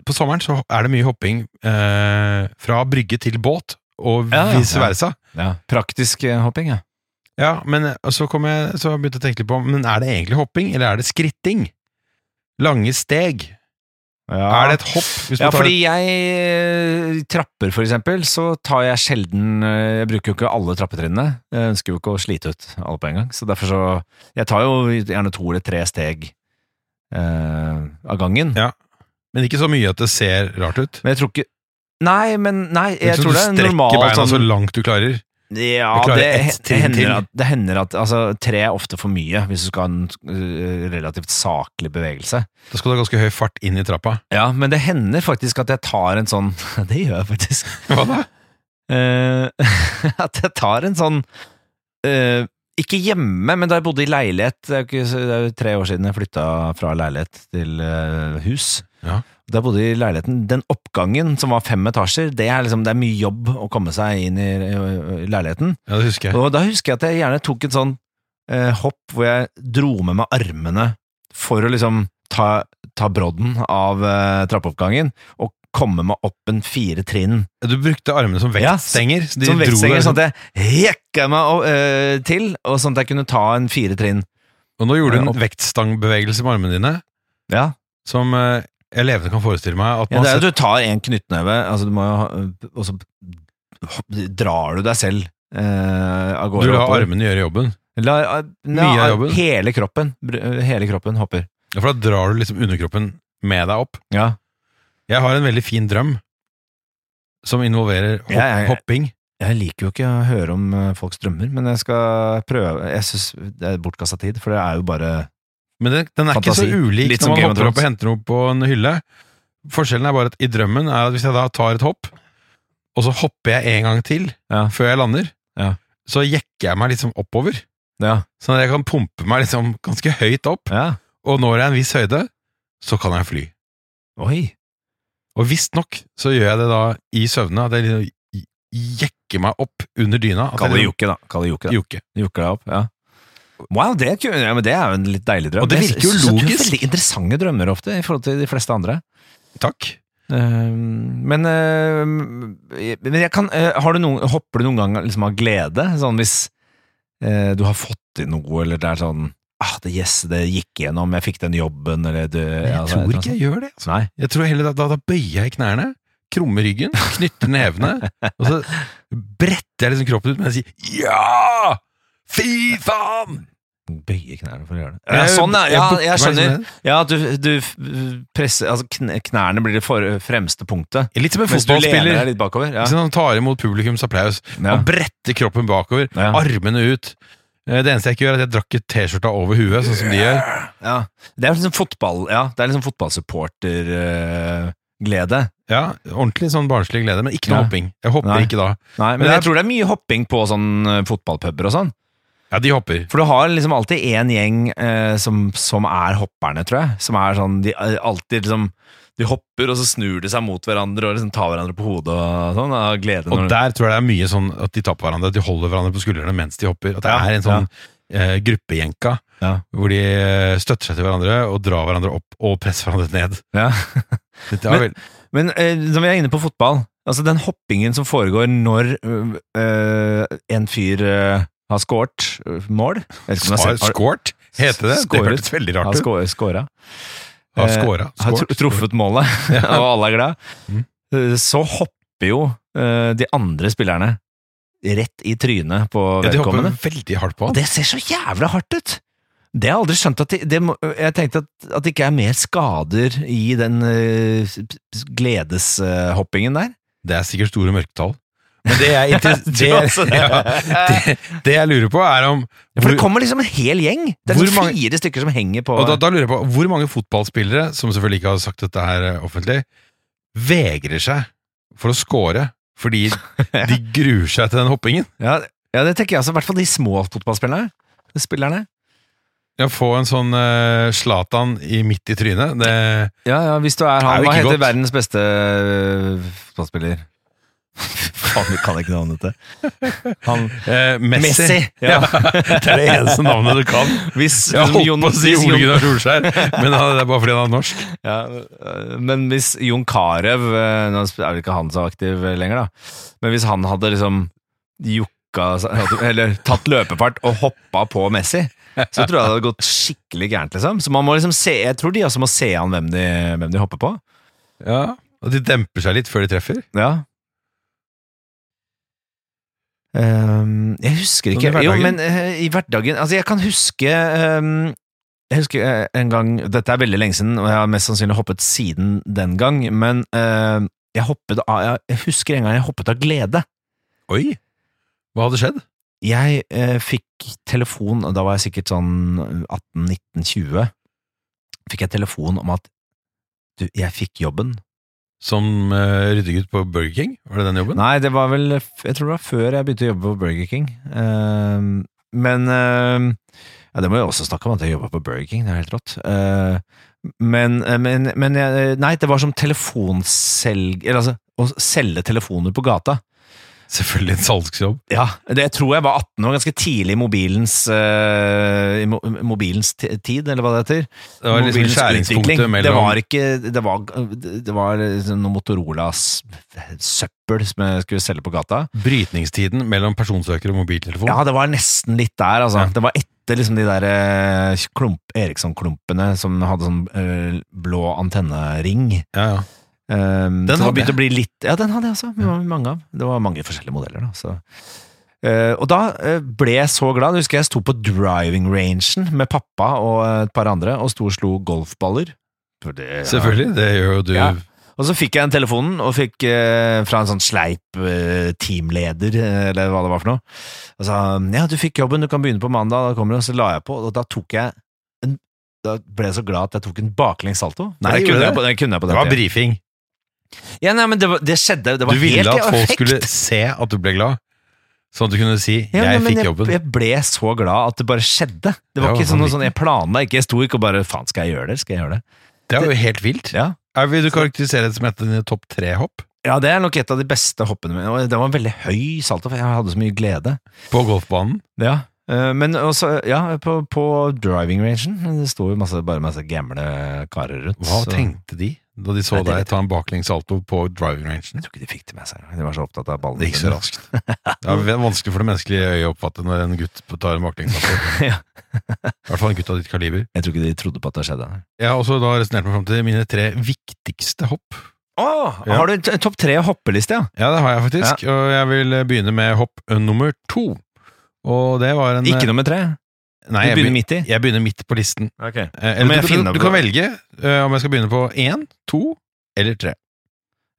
S1: På sommeren så er det mye hopping eh, fra brygge til båt, og
S2: Ja, ja,
S1: vice
S2: ja.
S1: versa.
S2: Praktisk eh, hopping, ja.
S1: Ja, men og så, kom jeg, så begynte jeg å tenke litt på Men er det egentlig hopping, eller er det skritting? Lange steg. Er det et hopp? Hvis
S2: Ja,
S1: man tar
S2: fordi jeg eh, trapper for eksempel, så tar jeg sjelden eh, Jeg bruker jo ikke alle trappetrinnene. Jeg ønsker jo ikke å slite ut alle på en gang. Så derfor så Jeg tar jo gjerne to eller tre steg eh, av gangen.
S1: Ja. et- men ikke så mye at det ser rart ut.
S2: Men jeg tror ikke Nei, men nei, jeg
S1: Liksom,
S2: tror
S1: du
S2: det er
S1: strekker
S2: normalt
S1: beina
S2: sånn
S1: så langt du klarer.
S2: Ja,
S1: Jeg klarer
S2: det,
S1: ett
S2: det,
S1: trinn til.
S2: hender at, det hender at Altså, tre er ofte for mye hvis du skal ha en eh, relativt saklig bevegelse.
S1: Da skal du ha ganske høy fart inn i trappa.
S2: Ja, men det hender faktisk at jeg tar en sånn Det gjør jeg faktisk.
S1: Hva da?
S2: Eh, at jeg tar en sånn eh, Ikke hjemme, men da jeg bodde i leilighet Det er jo, ikke, så- det er jo tre år siden jeg flytta fra leilighet til eh, hus.
S1: Ja.
S2: Da jeg bodde i leiligheten Den oppgangen som var fem etasjer, det er, liksom, det er mye jobb å komme seg inn i, eh, leiligheten.
S1: Ja, det husker jeg.
S2: Og da husker jeg at jeg gjerne tok et sånn eh, hopp hvor jeg dro med meg armene for å liksom ta, ta brodden av eh, trappeoppgangen, og komme meg opp en fire trinn.
S1: Du brukte armene som
S2: Ja,
S1: vektstenger. så de
S2: som
S1: dro
S2: vektstenger,
S1: deg
S2: sånn at jeg jekka meg opp, eh, til, og sånn at jeg kunne ta en fire trinn.
S1: Og nå gjorde du
S2: Ja,
S1: en vektstangbevegelse med armene dine
S2: Ja,
S1: som eh, jeg levende kan forestille meg at
S2: Ja,
S1: man
S2: det er
S1: har
S2: at du tar en knyttneve, altså du må jo ha, og så drar du deg selv eh, av
S1: sett- du
S2: gårde.
S1: lar
S2: oppover.
S1: armene gjøre jobben.
S2: La, ah, nei,
S1: Mye av jobben.
S2: Hele kroppen, br- hele kroppen hopper.
S1: Ja, For da drar du liksom underkroppen med deg opp.
S2: Ja.
S1: Jeg har en veldig fin drøm som involverer hopp,
S2: Ja, ja, ja.
S1: hopping.
S2: Jeg liker jo ikke å høre om eh, folks drømmer, men jeg skal prøve. Jeg synes det er bortkastet tid, for det er jo bare...
S1: Men den, den er
S2: Fantasi.
S1: ikke så ulik
S2: Litt
S1: når
S2: som
S1: man
S2: Game of
S1: hopper opp og
S2: Thrones.
S1: henter noe på en hylle. Forskjellen er bare at i drømmen er at hvis jeg da tar et hopp, og så hopper jeg en gang til
S2: Ja.
S1: før jeg lander,
S2: Ja.
S1: så jekker jeg meg liksom oppover,
S2: Ja.
S1: sånn at jeg kan pumpe meg liksom ganske høyt opp,
S2: ja.
S1: og når jeg er en viss høyde, så kan jeg fly.
S2: Oi.
S1: Og visstnok så gjør jeg det da i søvne, at jeg liksom j- jekker meg opp under dyna. at jeg
S2: Kalle
S1: liksom-
S2: Jokke da. Kalle Jokke da.
S1: Jokke.
S2: Jokke deg opp, ja. Wow, det, kunne- ja, men det er jo en litt deilig drøm.
S1: Og det
S2: Jeg
S1: virker jo
S2: synes at du har
S1: logisk.
S2: Veldig interessante drømmer ofte, i forhold til de fleste andre.
S1: Takk.
S2: Ehm, Men, ehm, jeg- men jeg kan, eh, har du noen, hopper du noen gang liksom av glede? Sånn hvis eh, du har fått til noe, eller det er sånn ah, det, yes, det gikk gjennom, jeg fikk den jobben, eller det,
S1: Men
S2: sånn.
S1: jeg tror ikke jeg gjør det. altså.
S2: Nei.
S1: Jeg tror heller da, da, da bøyer jeg knærne, krummer ryggen, knytter nevene, og så bretter jeg liksom kroppen ut mens jeg sier ja! Fy faen!
S2: Bøye knærne for å gjøre det. Ja, sånn, ja. ja jeg
S1: bukker meg
S2: skjønner.
S1: liksom ned.
S2: Ja, at du, du f- presser Altså, kn- knærne blir det for, fremste punktet.
S1: Litt som en
S2: Mens du lener deg
S1: fotballspiller.
S2: litt bakover. Ja.
S1: Ikke sant, Han tar imot publikums applaus.
S2: Ja.
S1: Han bretter kroppen bakover,
S2: Ja.
S1: armene ut. Eh, Det eneste jeg ikke gjør, er at jeg drar ikke T-skjorta over huet, sånn som de gjør.
S2: Ja. Det er liksom fotball Ja, det er liksom fotballsupporterglede.
S1: Ja, Ordentlig sånn barnslig glede, men ikke noe
S2: Ja.
S1: hopping. Jeg hopper
S2: Nei.
S1: ikke da.
S2: Nei,
S1: Men
S2: men
S1: det
S2: jeg
S1: er-
S2: tror det er mye hopping på sånn eh, fotballpuber og sånn.
S1: Ja, de hopper.
S2: For du har liksom alltid én gjeng eh, som, som er hopperne, tror jeg. Som er sånn De eh, alltid liksom De hopper, og så snur de seg mot hverandre og liksom tar hverandre på hodet og sånn. Av glede.
S1: Og
S2: når-
S1: der tror jeg det er mye sånn at de tar på hverandre, at de holder hverandre på skuldrene mens de hopper. At det
S2: Ja,
S1: er en sånn eh, gruppejenka
S2: Ja.
S1: hvor de eh, støtter seg til hverandre og drar hverandre opp og presser hverandre ned.
S2: ja.
S1: Dette er
S2: Men-
S1: vel-
S2: Men eh, når vi er inne på fotball Altså den hoppingen som foregår når eh, eh, en fyr eh, har skåret eh, mål Jeg vet ikke om jeg har
S1: Har
S2: sett- har-
S1: skåret, heter det? Det
S2: Skåret.
S1: hørtes veldig
S2: Har
S1: rart ut.
S2: skå- skåra.
S1: Har
S2: Eh,
S1: skåra.
S2: har tru- truffet målet, og alle er glad.
S1: Mm.
S2: Eh, Så hopper jo eh, de andre spillerne rett i trynet på
S1: Ja, de hopper
S2: vedkommende.
S1: veldig hardt på
S2: Og
S1: han.
S2: det ser så jævla hardt ut! Det har jeg aldri skjønt. At de, det, må- jeg tenkte at, at det ikke er mer skader i den eh, gledeshoppingen der.
S1: Det er sikkert store mørketall. Men det jeg, inter- det,
S2: altså det.
S1: ja, det, det jeg lurer på, er om
S2: Ja, For det
S1: hvor-
S2: kommer liksom en hel gjeng! Det er
S1: Hvor
S2: liksom
S1: mange-
S2: fire stykker som henger på
S1: og da, da lurer jeg på hvor mange fotballspillere, som selvfølgelig ikke har sagt dette her eh, offentlig, vegrer seg for å score fordi de gruer seg til den hoppingen.
S2: ja, ja, det tenker jeg altså. I hvert fall de små fotballspillerne. Spillerne.
S1: Ja, få en sånn eh, Zlatan i midt i trynet. Det,
S2: Ja, ja, hvis du er
S1: Det er
S2: han.
S1: jo
S2: Hva
S1: ikke
S2: heter
S1: godt.
S2: verdens beste øh, fotballspiller? Faen, vi kan ikke navnet til. Han,
S1: eh, Messi.
S2: Ja.
S1: Det er det eneste navnet du kan.
S2: Hvis,
S1: Jeg holdt
S2: Jon-
S1: på å si
S2: hvis
S1: Ole
S2: Jon-
S1: Gunnar Solskjær, men han- det er bare fordi han er norsk.
S2: ja, øh, Men hvis Jon Carew øh, Nå er vel ikke han så aktiv øh, lenger, da. Men hvis han hadde liksom jukka seg- Eller tatt løpefart og hoppa på Messi, så tror jeg det hadde gått skikkelig gærent. liksom Så man må liksom se Jeg tror de også må se an hvem de, hvem de hopper på.
S1: Ja, Og de demper seg litt før de treffer.
S2: Ja. Ehm, jeg husker
S1: Sånn
S2: ikke
S1: i
S2: Jo,
S1: hverdagen?
S2: men eh, i hverdagen Altså, jeg kan huske ehm, Jeg husker eh, en gang Dette er veldig lenge siden, og jeg har mest sannsynlig hoppet siden den gang, men ehm, jeg hoppet av jeg, jeg husker en gang jeg hoppet av glede.
S1: Oi! Hva hadde skjedd?
S2: Jeg eh, fikk telefon, og da var jeg sikkert sånn 18-19-20, fikk jeg telefon om at du, jeg fikk jobben.
S1: Som eh, ryddegutt på Burger King? Var det den jobben?
S2: Nei, det var vel Jeg tror det var før jeg begynte å jobbe på Burger King. Ehm, men ehm, Ja, det må jeg også snakke om, at jeg jobba på Burger King. Det er helt rått. Eh, men eh, men, men jeg, Nei, det var som telefonselg... Eller altså, å selge telefoner på gata.
S1: Selvfølgelig en salgsjobb.
S2: Ja, det, jeg tror jeg var 18 år, ganske tidlig i mobilens, eh, i mo- mobilens ti- tid, eller hva det heter.
S1: Det var liksom
S2: Mobilens utvikling.
S1: skjæringspunktet
S2: Det
S1: mellom
S2: var ikke Det var, det var liksom noe Motorolas søppel som jeg skulle selge på gata.
S1: brytningstiden mellom personsøker og mobiltelefon.
S2: Ja, det var nesten litt der, altså.
S1: Ja.
S2: Det var etter liksom de der eh, klump, Eriksson-klumpene som hadde sånn eh, blå antennering.
S1: Ja, ja.
S2: Um,
S1: Den
S2: den så det
S1: hadde
S2: begynte
S1: jeg.
S2: å bli litt Ja, den hadde jeg også. Vi var mange av. Det var mange forskjellige modeller, da. Så. Eh, og da eh, ble jeg så glad. Jeg husker jeg sto på driving rangen med pappa og eh, et par andre og sto og slo golfballer. For det, ja.
S1: Selvfølgelig, det gjør jo du.
S2: Ja. Og så fikk jeg den telefonen og fikk eh, fra en sånn sleip eh, teamleder, eh, eller hva det var for noe. Og sa ja, du fikk jobben, du kan begynne på mandag. Da kommer du, og så la jeg på, og da tok jeg en da ble jeg så glad at jeg tok en baklengs salto.
S1: Nei,
S2: det
S1: gjorde
S2: kunne
S1: du
S2: jeg på, det kunne jeg på
S1: Det
S2: den
S1: var
S2: tiden.
S1: brifing.
S2: Ja, nei, men det, var, det skjedde. Det var
S1: Du ville
S2: helt i
S1: at folk
S2: affekt.
S1: skulle se at du ble glad, sånn at du kunne si
S2: Ja,
S1: 'jeg
S2: nei, men
S1: fikk jobben'.
S2: Jeg ble så glad at det bare skjedde. Det var
S1: Ja,
S2: ikke sånn, noe
S1: vanvittig.
S2: sånn jeg planla ikke. Jeg sto ikke og bare faen, skal jeg gjøre det? Skal jeg gjøre det?
S1: Det er jo helt vilt.
S2: Ja,
S1: Er, vil du karakterisere det som et av dine topp tre-hopp
S2: ja det er nok et av de beste hoppene mine. Og det var en veldig høy salto, for jeg hadde så mye glede.
S1: på golfbanen?
S2: Ja. eh, Men også, ja, på, på driving rangen Det sto jo masse, bare masse gamle karer rundt.
S1: Hva
S2: så-
S1: tenkte de da de så
S2: Nei, det vet
S1: deg ta en baklengs salto på driving rangen?
S2: Jeg tror ikke de fikk det med seg. De var så opptatt av ballen.
S1: Det gikk så raskt. Det er vanskelig for det menneskelige øyet å oppfatte når en gutt tar en baklengs salto.
S2: Ja.
S1: I hvert fall en gutt av ditt kaliber.
S2: Jeg tror ikke de trodde på at det skjedde.
S1: Jeg har også da resonnert meg fram til mine tre viktigste hopp.
S2: Å!
S1: Ja.
S2: Har du en t- topp tre hoppeliste, ja?
S1: Ja, det har jeg faktisk, og jeg vil eh, begynne med hopp eh, nummer to. Og det var en eh,
S2: Ikke nummer tre. Du
S1: Nei, jeg begynner,
S2: begynner midt i.
S1: jeg begynner midt på listen.
S2: Okay.
S1: Eh, Eller,
S2: men
S1: du,
S2: jeg
S1: du,
S2: finner
S1: du
S2: på-
S1: kan velge eh, om jeg skal begynne på én, to eller tre.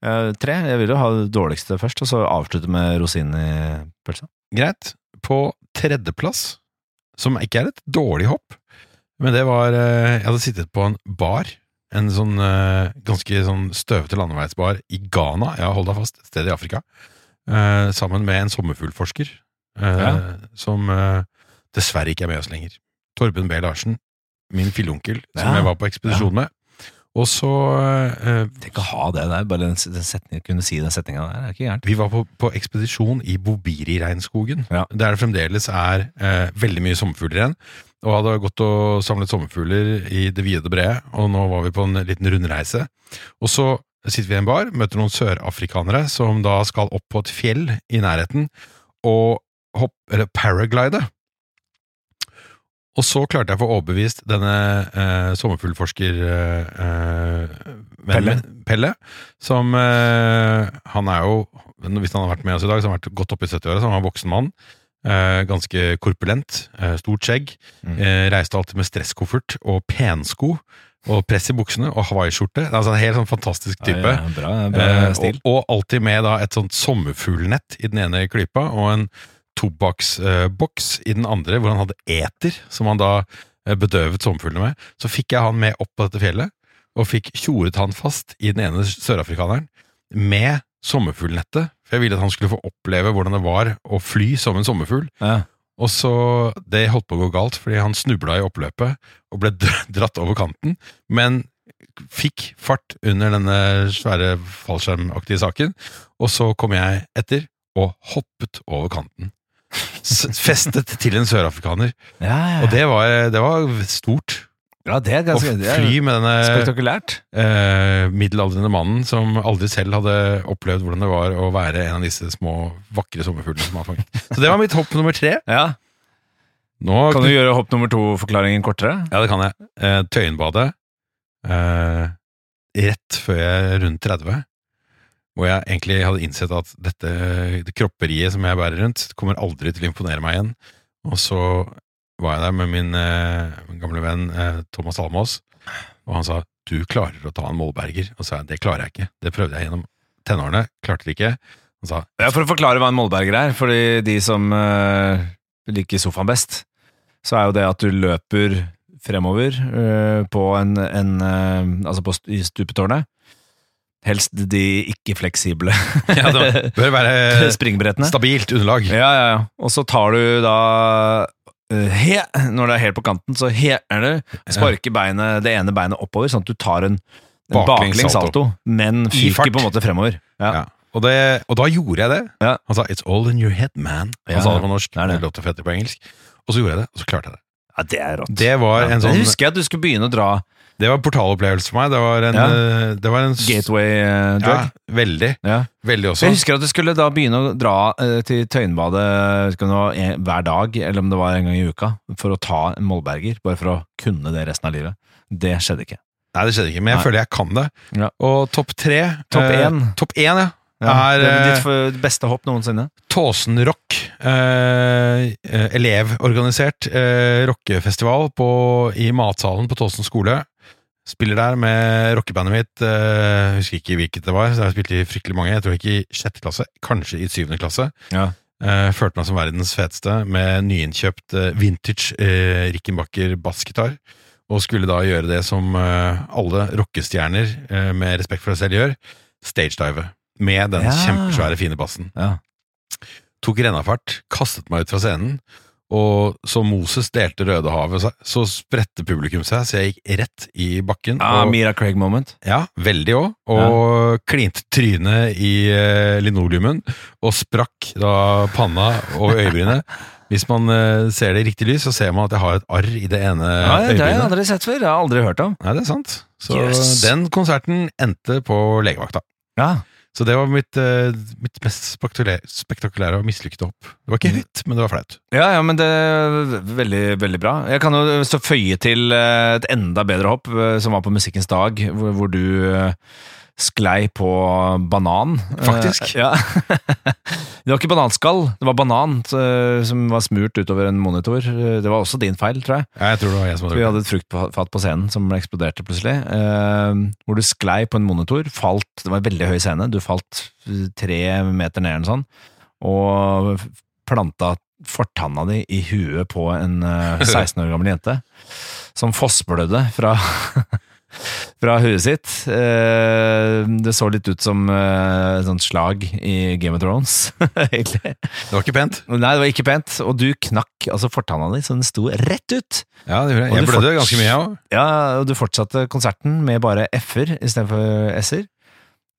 S2: Eh, tre. Jeg vil jo ha det dårligste først, og så avslutte med rosin i pølsa.
S1: Greit. På tredjeplass, som ikke er et dårlig hopp, men det var eh, Jeg hadde sittet på en bar, en sånn eh, ganske sånn støvete landeveisbar i Ghana, ja, hold deg fast, et sted i Afrika, eh, sammen med en sommerfuglforsker eh,
S2: Ja.
S1: som eh, dessverre ikke er med oss lenger. Torben B. Larsen, min fillonkel, som
S2: Ja.
S1: jeg var på ekspedisjon med. Og så eh,
S2: Tenk å ha det der, bare den, s- den setningen, kunne si den setninga der, det er ikke gærent.
S1: Vi var på, på ekspedisjon i Bobiri-regnskogen,
S2: Ja.
S1: der det fremdeles er eh, veldig mye sommerfugler igjen. Og hadde gått og samlet sommerfugler i det vide og det brede, og nå var vi på en liten rundreise. Og så sitter vi i en bar, møter noen sørafrikanere som da skal opp på et fjell i nærheten og hopp, eller paraglide. Og så klarte jeg å få overbevist denne eh, sommerfuglforsker eh, eh, vennen min, Pelle, som eh, Han er jo, hvis han har vært med oss i dag, så har han vært godt oppe i 70-åra, så han var en voksen mann. Eh, ganske korpulent, eh, stort skjegg.
S2: Mm.
S1: Eh, reiste alltid med stresskoffert og pensko. Og press i buksene og hawaiiskjorte. Altså en helt sånn fantastisk type.
S2: Ja, ja, bra bra
S1: Eh,
S2: stil.
S1: Og, og alltid med da, et sånt sommerfuglnett i den ene klypa, og en tobakksboks eh, i den andre, hvor han hadde eter, som han da eh, bedøvet sommerfuglene med. Så fikk jeg han med opp på dette fjellet, og fikk tjoret han fast i den ene sørafrikaneren med sommerfuglnettet, for jeg ville at han skulle få oppleve hvordan det var å fly som en sommerfugl.
S2: Ja.
S1: Og så Det holdt på å gå galt, fordi han snubla i oppløpet og ble dr- dratt over kanten. Men fikk fart under denne svære fallskjermaktige saken. Og så kom jeg etter og hoppet over kanten. S festet til en sørafrikaner.
S2: Ja, ja,
S1: Og det var, det var stort.
S2: ja, det er
S1: Å
S2: ganske det er
S1: fly med denne
S2: Spektakulært.
S1: eh, middelaldrende mannen som aldri selv hadde opplevd hvordan det var å være en av disse små, vakre sommerfuglene som han fanget. Så det var mitt hopp nummer tre.
S2: Ja.
S1: Nå
S2: Kan du gjøre hopp nummer to-forklaringen kortere?
S1: Ja, det kan jeg. Eh, Tøyenbadet. Eh, rett før jeg er rundt 30. Hvor jeg egentlig hadde innsett at dette det kropperiet som jeg bærer rundt, kommer aldri til å imponere meg igjen. Og så var jeg der med min, eh, min gamle venn eh, Thomas Almås, og han sa 'du klarer å ta en målberger'. Og så sa jeg 'det klarer jeg ikke'. Det prøvde jeg gjennom tenårene, klarte det ikke. Han sa
S2: Ja, For å forklare hva en målberger er, for de som eh, liker sofaen best, så er jo det at du løper fremover eh, på en, en eh, Altså på st- i stupetårnet. Helst de ikke-fleksible
S1: ja, det bør
S2: Eh,
S1: være
S2: springbrettene.
S1: stabilt underlag.
S2: Ja, ja, ja. Og så tar du da eh, he, Når det er helt på kanten, så he er du. Sparker beinet, det ene beinet oppover, sånn at du tar en, en
S1: Baklengs
S2: baklengs salto, men
S1: I fart.
S2: fyker på en måte fremover. Ja.
S1: Ja. Og, det, og da gjorde jeg det.
S2: Ja.
S1: Han sa 'It's all in your head, man'. Han
S2: Ja,
S1: sa
S2: ja.
S1: det på norsk.
S2: Det er det.
S1: Det låter fett på engelsk. Og så gjorde jeg det, og så klarte jeg det.
S2: Ja, det er rått.
S1: Det var
S2: Ja,
S1: en
S2: det
S1: sånn
S2: husker jeg at du skulle begynne å dra
S1: Det var en portalopplevelse for meg. Det var en,
S2: Ja.
S1: eh, det var en s- Ja,
S2: gateway-drug.
S1: veldig.
S2: eh, Ja.
S1: Veldig
S2: Så
S1: også.
S2: jeg husker at du skulle da begynne å dra eh, til Tøyenbadet jeg vet ikke om det var en- hver dag, eller om det var en gang i uka, for å ta en målberger, bare for å kunne det resten av livet. Det skjedde ikke.
S1: Nei, det skjedde ikke, men jeg
S2: Nei.
S1: føler jeg kan det.
S2: Ja.
S1: Og topp tre
S2: Topp
S1: eh,
S2: én.
S1: Topp én, ja.
S2: Ja,
S1: er,
S2: det er
S1: eh,
S2: ditt for- beste hopp noensinne.
S1: Tåsenrock. Eh, eh, elevorganisert eh, rockefestival på, i matsalen på Tåsen skole. Spiller der med rockebandet mitt. eh, Jeg husker ikke hvilket det var. så Jeg spilte i fryktelig mange. Jeg tror ikke i sjette klasse, kanskje i syvende klasse.
S2: Ja.
S1: Eh, følte meg som verdens feteste med nyinnkjøpt eh, vintage eh, Rickenbacker bassgitar. Og skulle da gjøre det som eh, alle rockestjerner eh, med respekt for seg selv gjør, stagedive. Med den
S2: Ja.
S1: kjempesvære, fine bassen
S2: Ja.
S1: tok rennafart, kastet meg ut fra scenen, og som Moses delte Rødehavet, så- så spredte publikum seg, så jeg gikk rett i bakken.
S2: Ah,
S1: og,
S2: Mira Craig-moment.
S1: ja, veldig òg. Og klinte trynet i eh, linoleumen, og sprakk da panna og øyebrynet. Hvis man eh, ser det i riktig lys, så ser man at jeg har et arr i det ene
S2: Ja, det har jeg
S1: øyebrynet.
S2: aldri sett før. Jeg har aldri hørt om.
S1: Nei, det er sant. Så
S2: Yes.
S1: den konserten endte på legevakta.
S2: Ja.
S1: Så det var mitt, eh, mitt mest spektakulære, spektakulære og mislykkede hopp. Det var ikke
S2: Mm.
S1: høyt, men det var flaut.
S2: Ja, ja, men det er veldig, veldig bra. Jeg kan jo så føye til eh, et enda bedre hopp, eh, som var på Musikkens dag, hvor, hvor du eh, sklei på banan.
S1: Faktisk.
S2: Eh, Ja. det var ikke bananskall, det var banan eh, som var smurt utover en monitor. Eh, Det var også din feil, tror jeg.
S1: Ja, jeg tror det var jeg som hadde
S2: Vi
S1: gjort det.
S2: hadde et fruktfat på scenen som eksploderte plutselig. Eh, hvor du sklei på en monitor, falt Det var en veldig høy scene, du falt eh, tre meter ned eller sånn, og planta fortanna di i huet på en eh, 16 år gammel jente. Som fossblødde fra Fra huet sitt. Eh, Det så litt ut som eh, et sånt slag i Game of Thrones, egentlig.
S1: Det var ikke pent.
S2: Nei, det var ikke pent. Og du knakk altså fortanna di, så den sto rett ut.
S1: Ja, det gjorde
S2: Og
S1: jeg. Jeg
S2: du
S1: blødde
S2: forts-
S1: ganske mye, jeg òg.
S2: Ja, og du fortsatte konserten med bare F-er istedenfor S-er.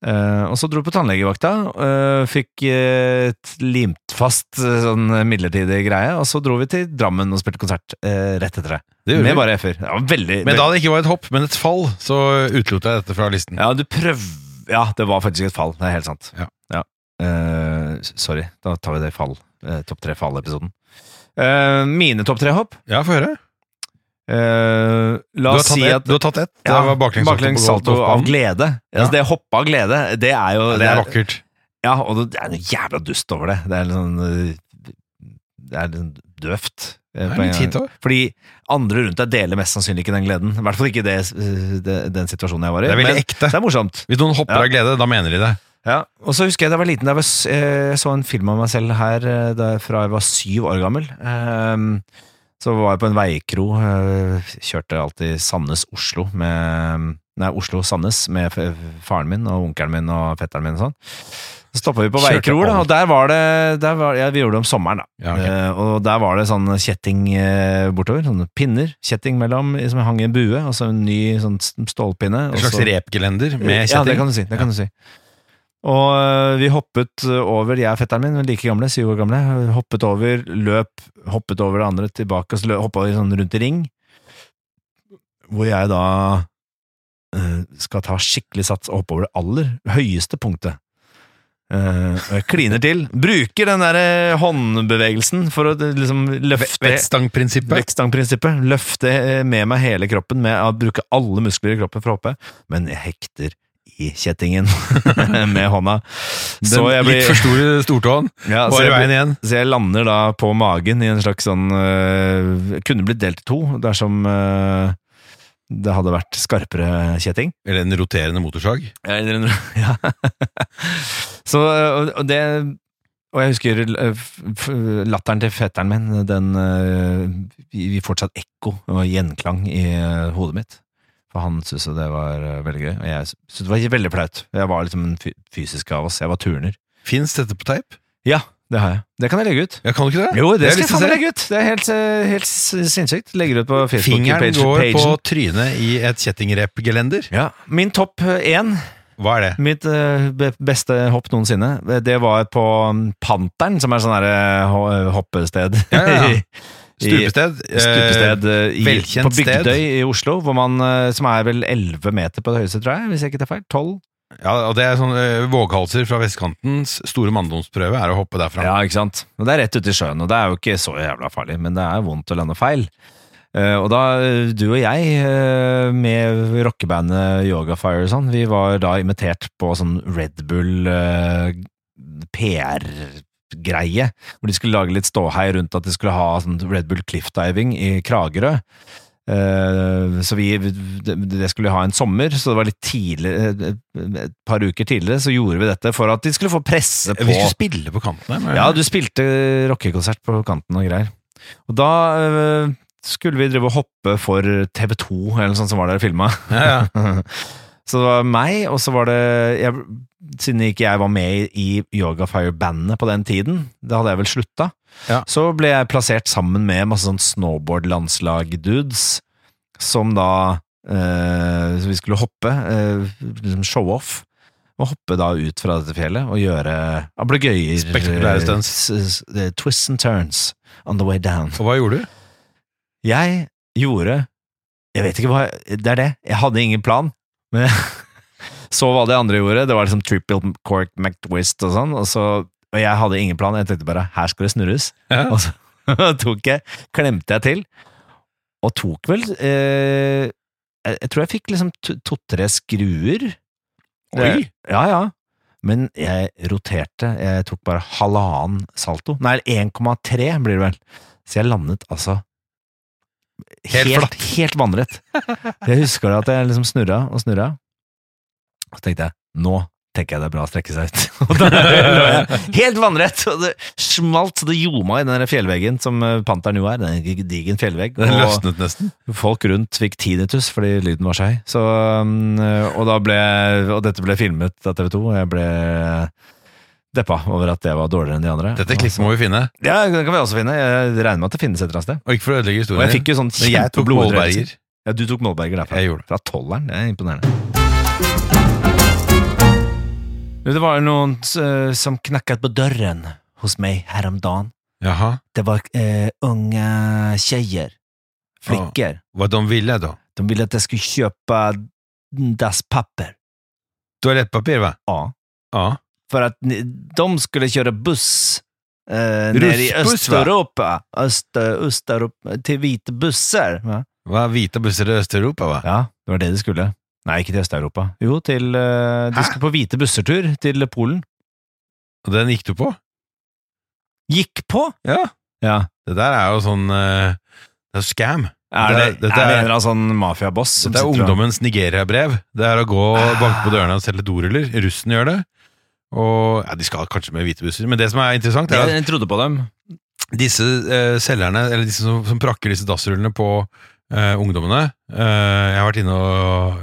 S2: Eh, og så dro du på tannlegevakta, eh, fikk eh, et limt fast eh, sånn midlertidig greie, og så dro vi til Drammen og spilte konsert eh, rett etter det.
S1: Det gjorde
S2: Med
S1: vi.
S2: bare F-er. Ja, veldig
S1: Men da det ikke var et hopp, men et fall, så utelot jeg dette fra listen.
S2: Ja, du prøv... Ja, det var faktisk et fall. Det er helt sant.
S1: Ja.
S2: Eh, sorry, da tar vi det i fall. eh, topp tre fall-episoden. Eh, mine topp tre hopp
S1: Ja, få høre.
S2: Eh,
S1: Du
S2: La
S1: har
S2: oss
S1: tatt
S2: si
S1: ett.
S2: at
S1: Du har tatt ett. Det
S2: Ja,
S1: var baklengs salto på
S2: baklengs salto
S1: golfbanen.
S2: av glede. Altså, det å hoppe av glede, det er jo
S1: Ja, Det er vakkert.
S2: Ja, og det er noe jævla dust over det. Det er litt sånn øh, Det er litt sånn døvt. eh,
S1: Det er
S2: på en
S1: litt
S2: gang.
S1: hit òg.
S2: Fordi andre rundt deg deler mest sannsynlig ikke den gleden. I hvert fall ikke det, øh, det, den situasjonen jeg var i.
S1: Det er veldig
S2: men
S1: ekte.
S2: det er morsomt.
S1: Hvis noen hopper
S2: Ja.
S1: av glede, da mener de det.
S2: Ja, og så husker jeg da jeg var liten, da jeg var s- eh, så en film av meg selv her eh, da- fra jeg var syv år gammel. Ehm, Så var jeg på en veikro, eh, kjørte alltid Sandnes-Oslo med Nei, Oslo-Sandnes med f- faren min og onkelen min og fetteren min og sånn. Så stoppa vi på
S1: Kjørte
S2: veikroer, da,
S1: over.
S2: og der var det der var, ja, Vi gjorde det om sommeren, da.
S1: Ja, ok.
S2: Eh, og der var det sånn kjetting eh, bortover. Sånne pinner. Kjetting mellom, som hang i en bue, og så en ny sånn stålpinne. og
S1: En slags
S2: så-
S1: repgelender med
S2: ja,
S1: kjetting.
S2: det kan du si. Det kan du si. Og øh, vi hoppet øh, over, jeg og fetteren min, like gamle, syv år gamle, øh, hoppet over, løp, hoppet over det andre, tilbake, og så lø- hoppa vi sånn rundt i ring. Hvor jeg da øh, skal ta skikkelig sats og hoppe over det aller høyeste punktet. Eh, og jeg kliner til. Bruker den der eh, håndbevegelsen for å eh, liksom løfte
S1: Vettstangprinsippet.
S2: Vektstangprinsippet. Løfte eh, med meg hele kroppen med å bruke alle muskler i kroppen for å hoppe, men jeg hekter i kjettingen med hånda. Så
S1: Den litt
S2: jeg blir
S1: for store stortåen
S2: ja, så
S1: var i
S2: jeg blir-
S1: veien igjen.
S2: så jeg lander da på magen i en slags sånn øh, Kunne blitt delt i to dersom øh, det hadde vært skarpere kjetting.
S1: Eller en roterende motorsag.
S2: Ja, eller en- ja. Så, og, og det Og jeg husker eh, f- f- latteren til fetteren min, den eh, vi vi fortsatt ekko og gjenklang i eh, hodet mitt. For han syntes jo det var eh, veldig gøy, og jeg syntes det var veldig flaut. Jeg var liksom den fy- fysiske av oss. Jeg var turner.
S1: Fins dette på teip?
S2: Ja, det har jeg. Det kan jeg legge ut.
S1: Ja, kan du ikke det?
S2: Jo, det,
S1: Det har jeg lyst
S2: skal jeg
S1: til å
S2: faen
S1: se.
S2: meg legge ut! Det er helt, eh, helt s- sinnssykt. Legger ut på Facebook.
S1: Fingeren
S2: page-
S1: går på
S2: pagen.
S1: trynet i et kjettingrepgelender.
S2: ja. Min topp eh, én
S1: Hva er det?
S2: Mitt eh, be- beste hopp noensinne, eh, det var på mm, Panteren, som er sånn her eh, ho- hoppested.
S1: Ja, ja, ja.
S2: I-
S1: Stupested? eh,
S2: Stupested eh, i,
S1: velkjent
S2: på
S1: sted.
S2: Bygdøy i Oslo, hvor man, eh, som er vel 11 meter på det høyeste, tror jeg, hvis jeg ikke tar feil. 12?
S1: Ja, og det er sånn eh, våghalser fra vestkantens store manndomsprøve er å hoppe derfra.
S2: Ja, ikke sant? Og det er rett ute i sjøen, og det er jo ikke så jævla farlig, men det er vondt å lande feil. Eh, og da, eh, du og jeg, eh, med rockebandet Yogafire og sånn, vi var da invitert på sånn Red Bull eh, PR-greie, hvor de skulle lage litt ståhei rundt at de skulle ha sånn Red Bull cliffdiving i Kragerø. Eh, Så vi det det skulle ha en sommer, så det var litt tidligere, et par uker tidligere, så gjorde vi dette for at de skulle få presse på
S1: Vi skulle spille på kanten her. men-
S2: ja, du spilte rockekonsert på kanten og greier. Og da øh, skulle vi drive og hoppe for TV2, eller noe sånt som var der og filma.
S1: ja, ja.
S2: så det var meg, og så var det jeg, Siden ikke jeg var med i Yogafire-bandet på den tiden, da hadde jeg vel slutta,
S1: Ja.
S2: så ble jeg plassert sammen med masse sånn snowboard-landslag-dudes, som da øh, så Vi skulle hoppe, øh, liksom show-off. Og hoppe da ut fra dette fjellet og gjøre ablegøyer. eh,
S1: Spektakulære stunts.
S2: s- s- Twists and turns on the way down.
S1: Og hva gjorde du?
S2: Jeg gjorde Jeg vet ikke hva Det er det. Jeg hadde ingen plan. Men så hva de andre gjorde. Det var liksom triple cork McTwist og sånn. Og, så, og jeg hadde ingen plan. Jeg tenkte bare her skal det snurres.
S1: Ja.
S2: Og så tok jeg, klemte jeg til, og tok vel eh, jeg, jeg tror jeg fikk liksom to- to-tre skruer. Eh,
S1: Oi!
S2: Ja, ja. Men jeg roterte. Jeg tok bare halvannen salto. Nei, 1,3 blir det vel. Så jeg landet altså
S1: Helt flatt.
S2: Helt, helt vannrett. Jeg husker det at jeg liksom snurra og snurra. Og så tenkte jeg nå tenker jeg det er bra å strekke seg ut. Og da lå jeg helt vannrett! Og det smalt så det ljoma i den der fjellveggen som eh, Panteren jo er. Det er en gig- digen fjellvegg.
S1: Den
S2: Og-
S1: løsnet nesten.
S2: Folk rundt fikk tinnitus fordi lyden var skei. Så, um, og, da ble, og dette ble filmet av TV 2, og jeg ble deppa over at det var dårligere enn de andre.
S1: Dette klippet må vi finne,
S2: Ja, det kan vi også finne. Jeg regner med at det finnes et eller annet sted.
S1: og ikke for å ødelegge
S2: Og
S1: historien.
S2: jeg fikk jo sånn
S1: Men jeg tok
S2: kjempeblodrøyelse.
S1: målberger.
S2: Ja, du tok målberger derfra.
S1: Jeg gjorde det.
S2: Fra tolleren. Det er imponerende. Du, Det var jo noen eh, som knakket på døren hos meg her om dagen.
S1: Jaha.
S2: Det var eh, unge jenter. Flikker.
S1: Hva de ville, da?
S2: De ville at jeg skulle kjøpe dasspapper.
S1: Toalettpapir, hva?
S2: Ja.
S1: Ja.
S2: For at ni- de skulle kjøre buss eh, nere
S1: Russbuss,
S2: i
S1: va?
S2: Øst-Europa. Øst, eh, Østeuropa, til hvite busser. Va?
S1: Hva, Hvite busser i Øst-Europa, hva?
S2: Ja, det var det de skulle. Nei, ikke til Øst-Europa. Jo, til, eh,
S1: Hæ?
S2: de skulle på hvite bussertur til Polen.
S1: Og den gikk du på?
S2: Gikk på!
S1: Ja.
S2: Ja.
S1: Det der er jo sånn eh, Det er jo scam.
S2: Er det,
S1: Dette- dette
S2: er det
S1: er-
S2: en eller annen sånn mafiaboss? som
S1: Dette er
S2: sitter og- Ah.
S1: ungdommens Nigeria-brev. Det er å gå og banke på dørene og selge doruller. Russen gjør det. Og ja, De skal kanskje med hvite busser, men det som er interessant, er at
S2: Jeg trodde på dem.
S1: disse eh, selgerne, eller disse som, som prakker disse dassrullene på eh, ungdommene eh, Jeg har vært inne og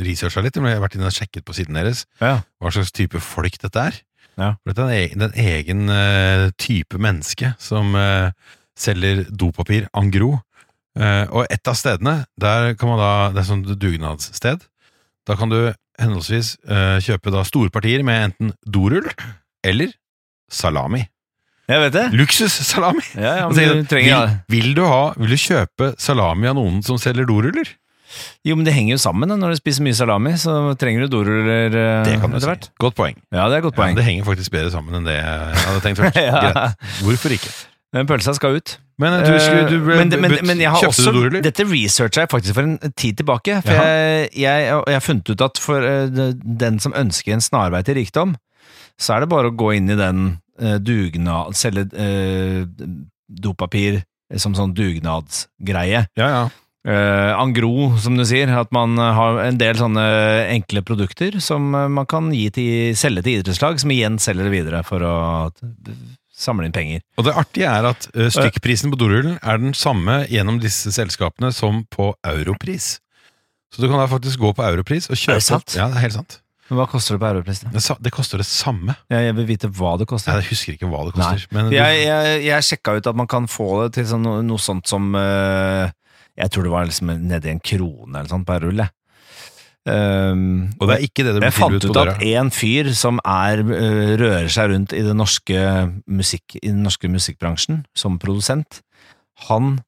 S1: researcha litt, men jeg har vært inne og sjekket på siden deres
S2: Ja.
S1: hva slags type folk dette er.
S2: Ja.
S1: For dette er en egen, en egen eh, type menneske som eh, selger dopapir en gros. Eh, og et av stedene, der kan man da, det er sånn dugnadssted, da kan du henholdsvis eh, kjøpe da store partier med enten dorull eller salami.
S2: Jeg vet det.
S1: Luksussalami!
S2: Ja, ja,
S1: Og
S2: men
S1: tenker
S2: du
S1: sånn,
S2: trenger ja.
S1: vil, vil, du ha, vil du kjøpe salami av noen som selger doruller?
S2: Jo, men det henger jo sammen. Da. Når du spiser mye salami, så trenger du doruller eh,
S1: Det kan du
S2: etter
S1: si.
S2: hvert.
S1: Godt poeng.
S2: Ja, det er et godt
S1: Ja,
S2: poeng.
S1: det henger faktisk bedre sammen enn det jeg hadde tenkt først. Greit.
S2: Ja,
S1: Hvorfor ikke?
S2: men pølsa skal ut.
S1: Men du, skulle, du ble,
S2: Eh, men, men,
S1: budt-
S2: men jeg har
S1: kjøpte
S2: også
S1: du doruller?
S2: Dette researcha jeg faktisk for en tid tilbake. For
S1: Jaha.
S2: jeg, jeg, og jeg har funnet ut at for eh, de- den som ønsker en snarvei til rikdom, så er det bare å gå inn i den eh, dugnad... Selge eh, dopapir som sånn dugnadsgreie.
S1: Ja, ja.
S2: Eh, angro, som du sier, at man har en del sånne enkle produkter som eh, man kan gi til, selge til idrettslag, som igjen selger det videre for å t- samle inn penger.
S1: Og det artige er at
S2: Eh.
S1: ø, stykkprisen på dorullen er den samme gjennom disse selskapene som på europris. Så du kan da faktisk gå på europris og kjøpe
S2: Er det sant?
S1: Ja, det er helt sant.
S2: Men hva koster det på europris? da?
S1: Det, sa- det koster det samme.
S2: Jeg jeg vil vite hva det
S1: Nei,
S2: koster.
S1: jeg husker ikke hva det koster. Men du,
S2: Jeg, jeg, jeg sjekka ut at man kan få det til sånn, noe sånt som eh, Jeg tror det var liksom nedi en krone eller sånt per rull. jeg. Um,
S1: Og det er ikke det det
S2: jeg
S1: blir
S2: fant
S1: tilbudt
S2: ut
S1: på
S2: at
S1: døra.
S2: en fyr som er, øh, rører seg rundt i, det norske musikk, i den norske musikkbransjen som produsent, han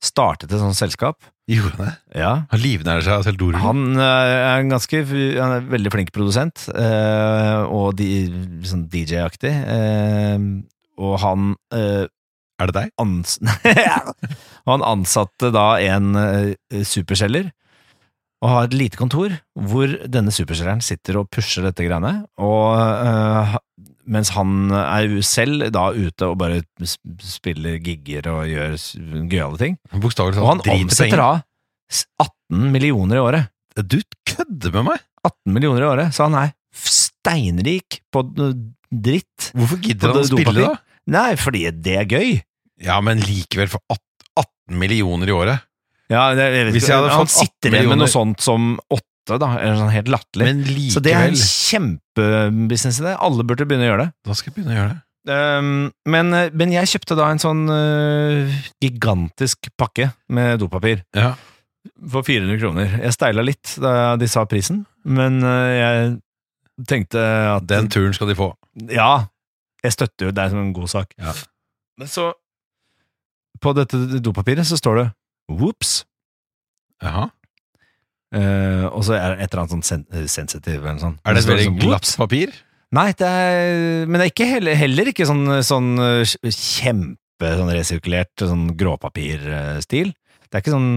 S2: startet et sånt selskap.
S1: Gjorde han det?
S2: Ja.
S1: Han livnærer seg av Seldoren.
S2: Han øh, er en ganske han er en veldig flink produsent, øh, og de, sånn DJ-aktig. øh, og han øh,
S1: Er det deg?
S2: ans og han ansatte da en eh, superselger og har et lite kontor hvor denne superselgeren sitter og pusher dette greiene, og eh, mens han er jo selv da ute og bare s- spiller gigger og gjør s- gøyale ting.
S1: Han Bokstavelig
S2: Og han
S1: talt driter
S2: omsetter
S1: penger.
S2: da s- 18 millioner i året.
S1: Du kødder med meg!
S2: 18 millioner i året, så han er steinrik på d- dritt.
S1: Hvorfor
S2: Og
S1: gidder han å
S2: det er
S1: spille,
S2: dopapir.
S1: da?
S2: Nei, fordi det er gøy.
S1: Ja, men likevel, for 18 18 millioner i året.
S2: Ja, det, jeg vet
S1: Hvis
S2: ikke,
S1: jeg hadde
S2: han
S1: fått 18
S2: sitter igjen med
S1: millioner.
S2: noe sånt som åtte, da. Eller sånn helt latterlig.
S1: Men likevel
S2: Så det er en kjempebusiness i det. Alle burde begynne å gjøre det.
S1: Da skal jeg begynne å gjøre det.
S2: Ehm, men, men jeg kjøpte da en sånn øh, gigantisk pakke med dopapir
S1: Ja.
S2: for 400 kroner. Jeg steila litt da de sa prisen, men øh, jeg tenkte at
S1: Den turen skal de få.
S2: Ja, jeg støtter jo deg som en god sak.
S1: Ja.
S2: Men så På dette dopapiret så står det 'whoops'.
S1: Jaha.
S2: Eh, og så er det et eller annet sånn sen eh, sensitiv eller noe sånt.
S1: Er det et
S2: står
S1: veldig
S2: sånn,
S1: glatt
S2: «Whoops».
S1: papir?
S2: Nei, det er, men det er ikke heller, heller ikke sånn, sånn eh, kjempe sånn resirkulert sånn gråpapirstil. Det er ikke sånn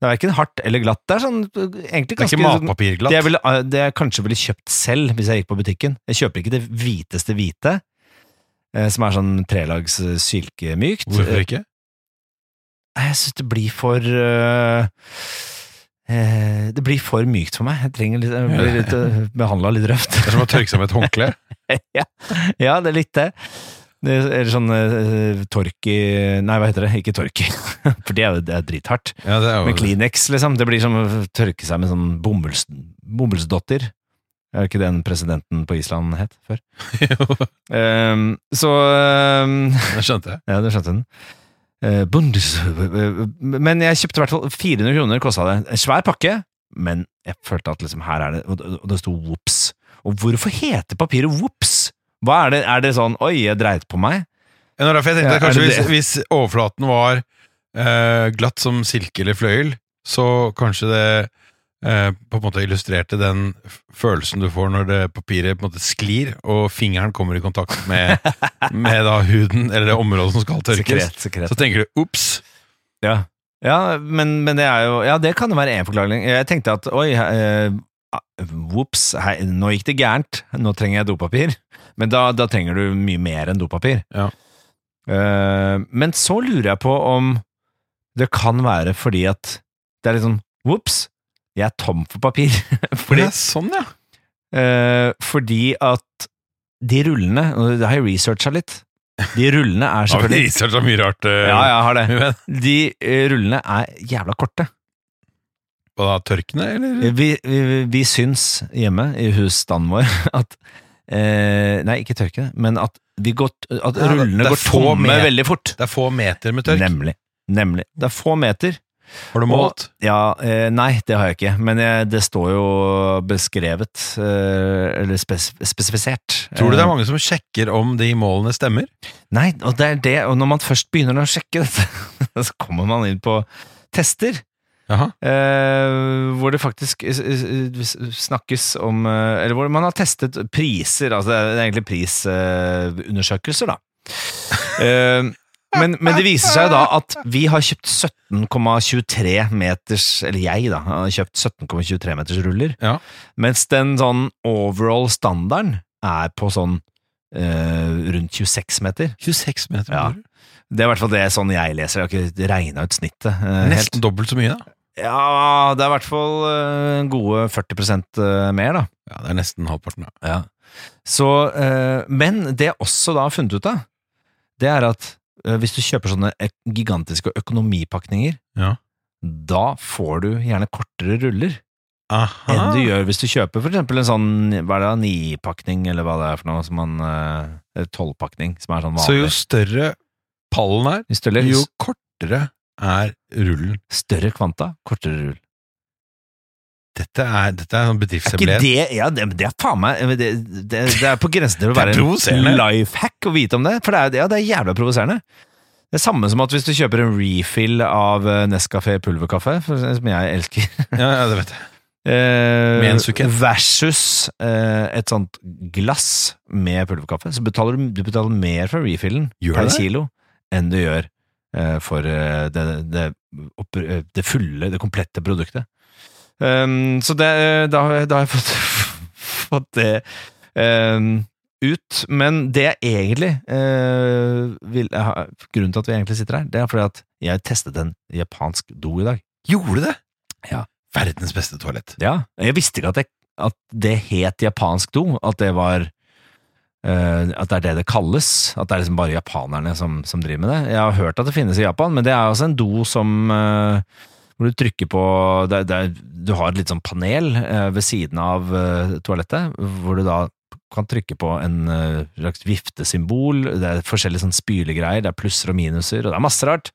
S2: Det er verken hardt eller glatt. Det er sånn eh, egentlig
S1: Det er
S2: ganske
S1: ikke
S2: sånn-
S1: matpapirglatt?
S2: det jeg, ville, eh, det jeg kanskje ville kjøpt selv hvis jeg gikk på butikken. Jeg kjøper ikke det hviteste hvite, eh, som er sånn trelags eh, silkemykt.
S1: Hvorfor ikke?
S2: Nei, Jeg synes det blir for øh, eh, Det blir for mykt for meg. Jeg trenger litt, jeg blir litt øh, behandla litt røft.
S1: Det er som å tørke seg med et håndkle.
S2: ja, ja, det er litt det. det eller sånn øh, torki Nei, hva heter det? Ikke torki, for det er jo det er drithardt.
S1: Ja, det er
S2: Men
S1: jo
S2: Kleenex, liksom. Det blir som å tørke seg med sånn bomulls, bomullsdotter. Er det ikke den presidenten på Island het før? Ehm, så ehm,
S1: Jeg skjønte det.
S2: ja, det skjønte hun. Eh, Bundes... Men jeg kjøpte i hvert fall 400 kroner kosta det. En svær pakke, men jeg følte at liksom her er det Og og det sto Wops. Og hvorfor heter papiret Wops? Hva er det? Er det sånn Oi, jeg dreit på meg?
S1: Ja, nå er det derfor jeg tenkte
S2: Ja,
S1: at
S2: er
S1: kanskje
S2: det
S1: hvis, hvis overflaten var eh, glatt som silke eller fløyel, så kanskje det eh, på en måte illustrerte den f- følelsen du får når det papiret på en måte sklir, og fingeren kommer i kontakt med, med da huden, eller det området som skal tørkes.
S2: Sekret, sekret.
S1: Så tenker du 'ops'.
S2: Ja, ja men, men det er jo Ja, det kan jo være en forklaring. Jeg tenkte at oi, eh, ah, Whoops, hei, nå gikk det gærent. Nå trenger jeg dopapir. Men da, da trenger du mye mer enn dopapir.
S1: Ja.
S2: Eh, men så lurer jeg på om det kan være fordi at det er litt sånn Whoops, jeg er tom for papir.
S1: Det
S2: fordi,
S1: er sånn, ja.
S2: eh, fordi at de rullene og Det har jeg researcha litt. De rullene er
S1: Har vi
S2: selvfølgelig
S1: researcha mye rart? eh,
S2: Ja, jeg har det.
S1: men-
S2: De eh, rullene er jævla korte.
S1: Hva da, tørkene, eller?
S2: Eh, Vi, vi, vi syns hjemme i husstanden vår at eh, Nei, ikke tørke det, men at, vi går, t- at
S1: Ja, det- det
S2: rullene
S1: er
S2: går
S1: få
S2: tomme
S1: med-
S2: veldig fort.
S1: Det er få meter med tørk.
S2: Nemlig. Nemlig. Det er få meter.
S1: Har du målt?
S2: Ja, eh, nei, det har jeg ikke, men jeg, det står jo beskrevet, eh, eller spes, spesifisert.
S1: Tror du det
S2: Eh,
S1: er mange som sjekker om de målene stemmer?
S2: Nei, og det er det, og når man først begynner å sjekke dette, så kommer man inn på tester.
S1: Jaha.
S2: Eh, hvor det faktisk s- s- s- snakkes om eh, Eller hvor man har testet priser. Altså det er det er egentlig prisundersøkelser, da. Eh, men, men det viser seg jo da at vi har kjøpt 17,23 meters Eller jeg, da. Har kjøpt 17,23 meters ruller.
S1: Ja.
S2: Mens den sånn overall standarden er på sånn eh, rundt 26 meter.
S1: 26 meter.
S2: Ja.
S1: mener du?
S2: Det er i hvert fall det er sånn jeg leser. Jeg har ikke regna ut snittet. eh, helt.
S1: Nesten dobbelt så mye, da.
S2: Ja, det er i hvert fall eh, gode 40 eh, mer, da.
S1: Ja, Det er nesten halvparten, ja.
S2: Så, eh, men det jeg også da har funnet ut av, det er at eh, hvis du kjøper sånne ek- gigantiske økonomipakninger,
S1: Ja.
S2: da får du gjerne kortere ruller
S1: Aha.
S2: enn du gjør hvis du kjøper for eksempel en sånn hva er det, nipakning, eller hva det er for noe, som man, eh, tolvpakning, som er sånn
S1: Så jo
S2: vanlig.
S1: større pallen er,
S2: Jo større,
S1: jo kortere er rullen.
S2: større kvanta, kortere rull.
S1: Dette er, dette er sånn
S2: Er ikke
S1: bedriftshemmelighet.
S2: det Ja, det, det er faen meg det, det, det er på grensen til å
S1: Det er
S2: være en
S1: provoserende.
S2: life hack å vite om det. For det er, ja, det er jævla provoserende. Det er samme som at hvis du kjøper en refill av eh, Nescafé pulverkaffe, for- som jeg elsker
S1: Ja, ja, det vet jeg.
S2: Eh,
S1: Med en sukett.
S2: Versus eh, et sånt glass med pulverkaffe. Så betaler du, du betaler mer for refillen
S1: Gjør du
S2: per
S1: det?
S2: kilo enn du gjør eh, for eh, det, det, opp- eh, det fulle, det komplette produktet. Um, så det, eh, da, har jeg- da har jeg fått, fått det um, ut. Men det jeg egentlig eh, vil, jeg har- Grunnen til at vi egentlig sitter her, det er fordi at jeg testet en japansk do i dag.
S1: Gjorde du det?
S2: Ja.
S1: Verdens beste toalett.
S2: Ja, jeg visste ikke at, jeg, at det het japansk do, at det var eh, At det er det det kalles. At det er liksom bare japanerne som, som driver med det. Jeg har hørt at det finnes i Japan, men det er altså en do som eh, hvor du trykker på det, er- det, er- Du har et litt sånn panel eh, ved siden av eh, toalettet, hvor du da kan trykke på en eh, slags viftesymbol. Det er forskjellige sånn spylegreier, det er plusser og minuser, og det er masse rart.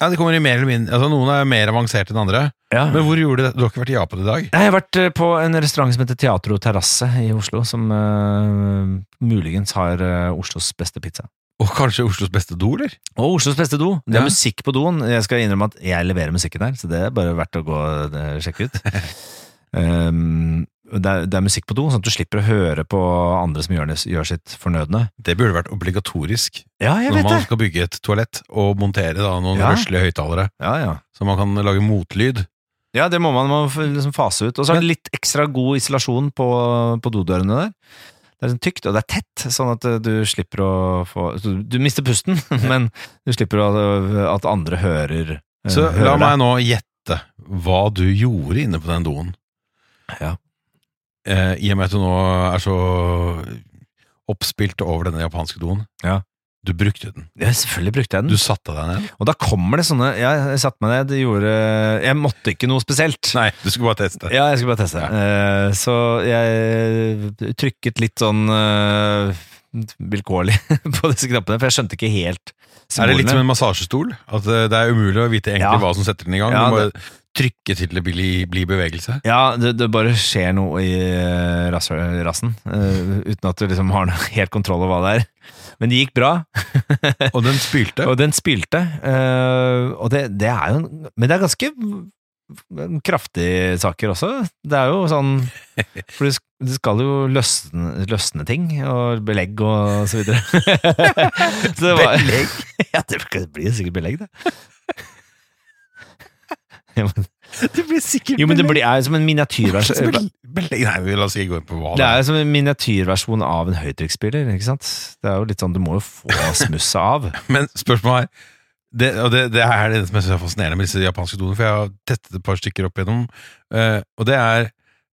S1: Ja, det kommer i mer eller mindre altså, Noen er mer avanserte enn andre.
S2: Ja.
S1: Men hvor gjorde du det? Du har ikke vært i Japan i dag?
S2: Nei, Jeg har vært eh, på en restaurant som heter Teatro Terrasse i Oslo, som eh, muligens har eh, Oslos beste pizza.
S1: Og kanskje Oslos beste do, eller?
S2: Og Oslos beste do. Det er
S1: Ja.
S2: musikk på doen. Jeg skal innrømme at jeg leverer musikken her, så det er bare verdt å gå og eh, sjekke ut. Um, det, er, det er musikk på do, sånn at du slipper å høre på andre som gjør, det- gjør sitt fornødne.
S1: Det burde vært obligatorisk
S2: Ja, jeg
S1: når
S2: vet
S1: man
S2: det!
S1: skal bygge et toalett og montere da, noen
S2: Ja.
S1: røslige høyttalere,
S2: Ja, ja.
S1: så man kan lage motlyd.
S2: Ja, det må man må f- liksom fase ut. Og så er det litt ekstra god isolasjon på, på dodørene der. Det er sånn tykt, og det er tett, sånn at eh, du slipper å få Du du mister pusten, men du slipper å, at andre hører eh,
S1: Så
S2: hører
S1: la
S2: deg.
S1: meg nå gjette hva du gjorde inne på den doen.
S2: Ja.
S1: Eh, I og med at du nå er så oppspilt over denne japanske doen.
S2: Ja. Mm.
S1: Du brukte den.
S2: Ja, selvfølgelig brukte jeg
S1: Du
S2: den.
S1: satte deg ned.
S2: Og da kommer det sånne ja, Jeg satte meg ned, gjorde Jeg måtte ikke noe spesielt.
S1: Nei, du skulle bare teste.
S2: Ja, jeg skulle bare teste. Eh, så jeg trykket litt sånn eh, vilkårlig på disse knappene, for jeg skjønte ikke helt
S1: Er det litt
S2: symbolene.
S1: som en massasjestol? At eh, det er umulig å vite egentlig
S2: Ja.
S1: hva som setter den i gang?
S2: Ja,
S1: du må bare trykke til det blir bli bevegelse.
S2: Ja, det, det bare skjer noe i eh, rass, rassen, eh, uten at du liksom har noe helt kontroll over hva det er. Men det gikk bra,
S1: Og den spylte.
S2: og den spilte. eh, og det, det er jo en, Men det er ganske v- kraftige saker også. Det er jo sånn For det sk- det skal jo løsne, løsne ting, og belegg og så videre. så det var,
S1: Belegg?
S2: ja, det blir sikkert belegg, det. Ja, men,
S1: Det blir sikkert
S2: jo, men det blir, er jo som en altså. miniatyrversjon.
S1: belegg. Belegg. Nei, vi la oss ikke gå inn på hva
S2: Det er jo som en miniatyrversjon av en høytrykksspiller, ikke sant? Det er jo litt sånn, du må jo få smusset av.
S1: Men spørsmålet er det, og det, det er det som jeg synes er fascinerende med disse japanske doene, for jeg har testet et par stykker opp igjennom, eh, og det er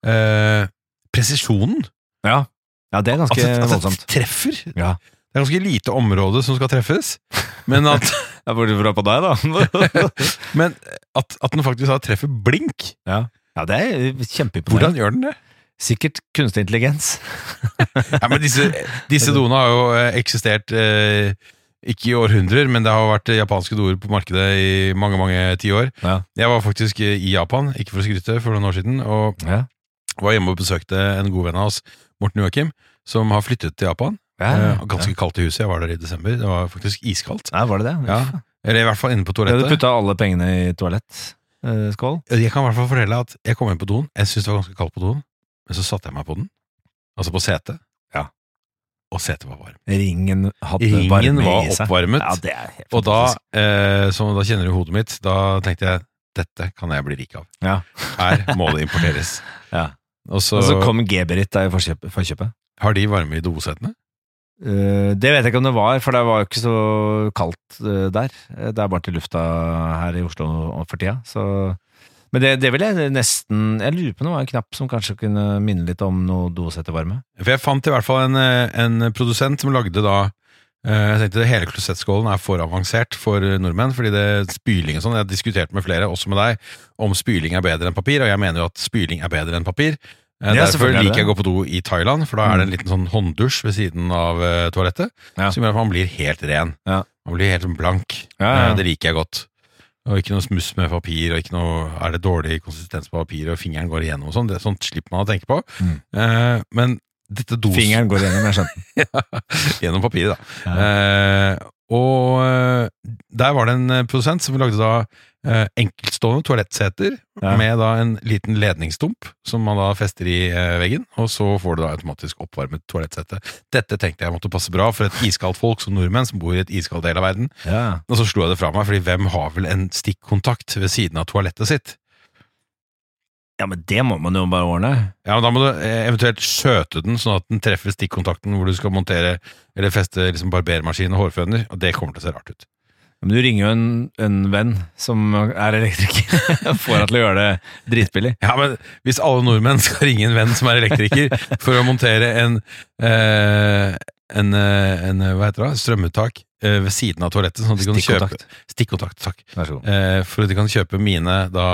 S1: eh, presisjonen.
S2: Ja. Ja, det er
S1: At
S2: ganske
S1: det, at det
S2: voldsomt.
S1: treffer.
S2: Ja.
S1: Det er ganske lite område som skal treffes, men at,
S2: Jeg burde bra på deg, da.
S1: men at, at den faktisk da treffer blink.
S2: ja, det er kjempeimponerende.
S1: Hvordan gjør den det?
S2: Sikkert kunstig intelligens.
S1: Ja, men disse, disse doene har jo eh, eksistert eh, ikke i århundrer, men det har jo vært japanske doer på markedet i mange, mange tiår.
S2: Ja.
S1: Jeg var faktisk eh, i Japan, ikke for å skryte, for noen år siden, og
S2: Ja.
S1: var hjemme og besøkte en god venn av oss, Morten Joakim, som har flyttet til Japan. Eh, ganske kaldt i huset, jeg var der i desember. Det var faktisk iskaldt.
S2: Nei, var det det?
S1: Ja. Eller i hvert fall inne på
S2: Du hadde
S1: toalettet.
S2: puttet alle pengene i eh, toalettskål.
S1: Jeg kan i hvert fall fortelle at jeg kom inn på doen. Jeg syntes det var ganske kaldt på doen, men så satte jeg meg på den. Altså på setet.
S2: Ja.
S1: Og setet var varm.
S2: Ringen hadde
S1: Ringen
S2: varme
S1: var
S2: i seg.
S1: oppvarmet.
S2: Ja, det er helt
S1: og da,
S2: fantastisk.
S1: eh, som da kjenner du hodet mitt, da tenkte jeg dette kan jeg bli rik av.
S2: Ja.
S1: Her må det importeres.
S2: Ja.
S1: Og så
S2: Og så kom Geberit der i forkjøp- forkjøpet.
S1: har de varme i dosetene.
S2: Eh, Det vet jeg ikke om det var, for det var jo ikke så kaldt eh, der. Eh, Det er varmt i lufta her i Oslo nå for tida. Så. Men det, det vil jeg nesten Jeg lurer på om det var en knapp som kanskje kunne minne litt om noe dosettevarme.
S1: For jeg fant i hvert fall en, eh, en produsent som lagde da eh, Jeg tenkte hele klosettskålen er for avansert for nordmenn, fordi det spyling og sånn Jeg har diskutert med flere, også med deg, om spyling er bedre enn papir, og jeg mener jo at spyling er bedre enn papir. Eh,
S2: Ja,
S1: Derfor
S2: selvfølgelig er det
S1: liker jeg å
S2: det.
S1: gå på do i Thailand, for da er det en liten sånn hånddusj ved siden av eh, toalettet,
S2: Ja.
S1: som gjør at man blir helt ren.
S2: Ja.
S1: Man blir helt sånn blank.
S2: Ja, ja, ja.
S1: Eh, Det liker jeg godt. Og ikke noe smuss med papir, og ikke noe er det dårlig konsistens på papiret, og fingeren går igjennom og sånn. Det er Sånt slipper man å tenke på.
S2: Mm.
S1: Eh, men dette dos
S2: Fingeren går gjennom, jeg skjønte.
S1: gjennom papiret, da. Eh, og eh, der var det en eh, produsent som lagde da eh, enkeltstående toalettseter
S2: Ja.
S1: med da en liten ledningsdump som man da fester i eh, veggen, og så får du da automatisk oppvarmet toalettsete. Dette tenkte jeg måtte passe bra for et iskaldt folk som nordmenn som bor i et iskaldt del av verden.
S2: Ja.
S1: Og så slo jeg det fra meg, fordi hvem har vel en stikkontakt ved siden av toalettet sitt?
S2: ja, men det må man jo bare ordne.
S1: Ja, men Da må du eh, eventuelt skjøte den, sånn at den treffer stikkontakten hvor du skal montere eller feste liksom barbermaskin og hårføner, og det kommer til å se rart ut.
S2: Men du ringer jo en, en venn som er elektriker, og får han til å gjøre det dritbillig.
S1: Ja, men Hvis alle nordmenn skal ringe en venn som er elektriker for å montere en, eh, en, eh, en eh, hva heter det, da? strømuttak eh, ved siden av toalettet sånn at de kan kjøpe,
S2: Stikkontakt.
S1: Stikkontakt, takk.
S2: Vær så god.
S1: eh, for at de kan kjøpe mine da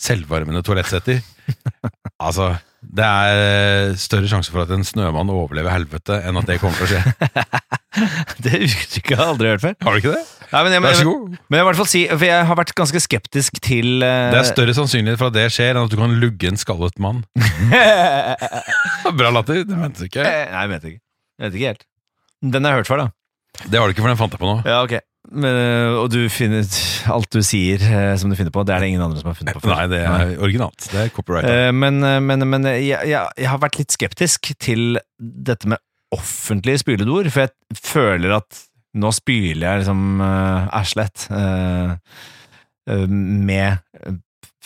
S1: selvvarmende toalettsetter. altså, det er eh, større sjanse for at en snømann overlever helvete enn at det kommer til å skje.
S2: Det uttrykket har jeg aldri hørt før.
S1: Har du ikke det?
S2: Nei, men jeg,
S1: Vær så
S2: men,
S1: god.
S2: men jeg, vil i hvert fall si, for jeg har vært ganske skeptisk til eh,
S1: Det er større sannsynlighet for at det skjer, enn at du kan lugge en skallet mann. Bra latter, det mente du ikke.
S2: Eh, Nei, jeg vet ikke. Jeg vet ikke helt. Den har jeg hørt før, da.
S1: Det har du ikke, for den fant jeg på nå.
S2: Ja, ok. Men, øh, og du finner alt du sier øh, som du finner på, det er det ingen andre som har funnet på før.
S1: Nei, det er originalt. Det er copyright.
S2: Eh, Men, øh, men, men øh, jeg, jeg, jeg har vært litt skeptisk til dette med offentlige spyledoer, for jeg føler at nå spyler jeg liksom øh, Aslett øh, øh, med øh,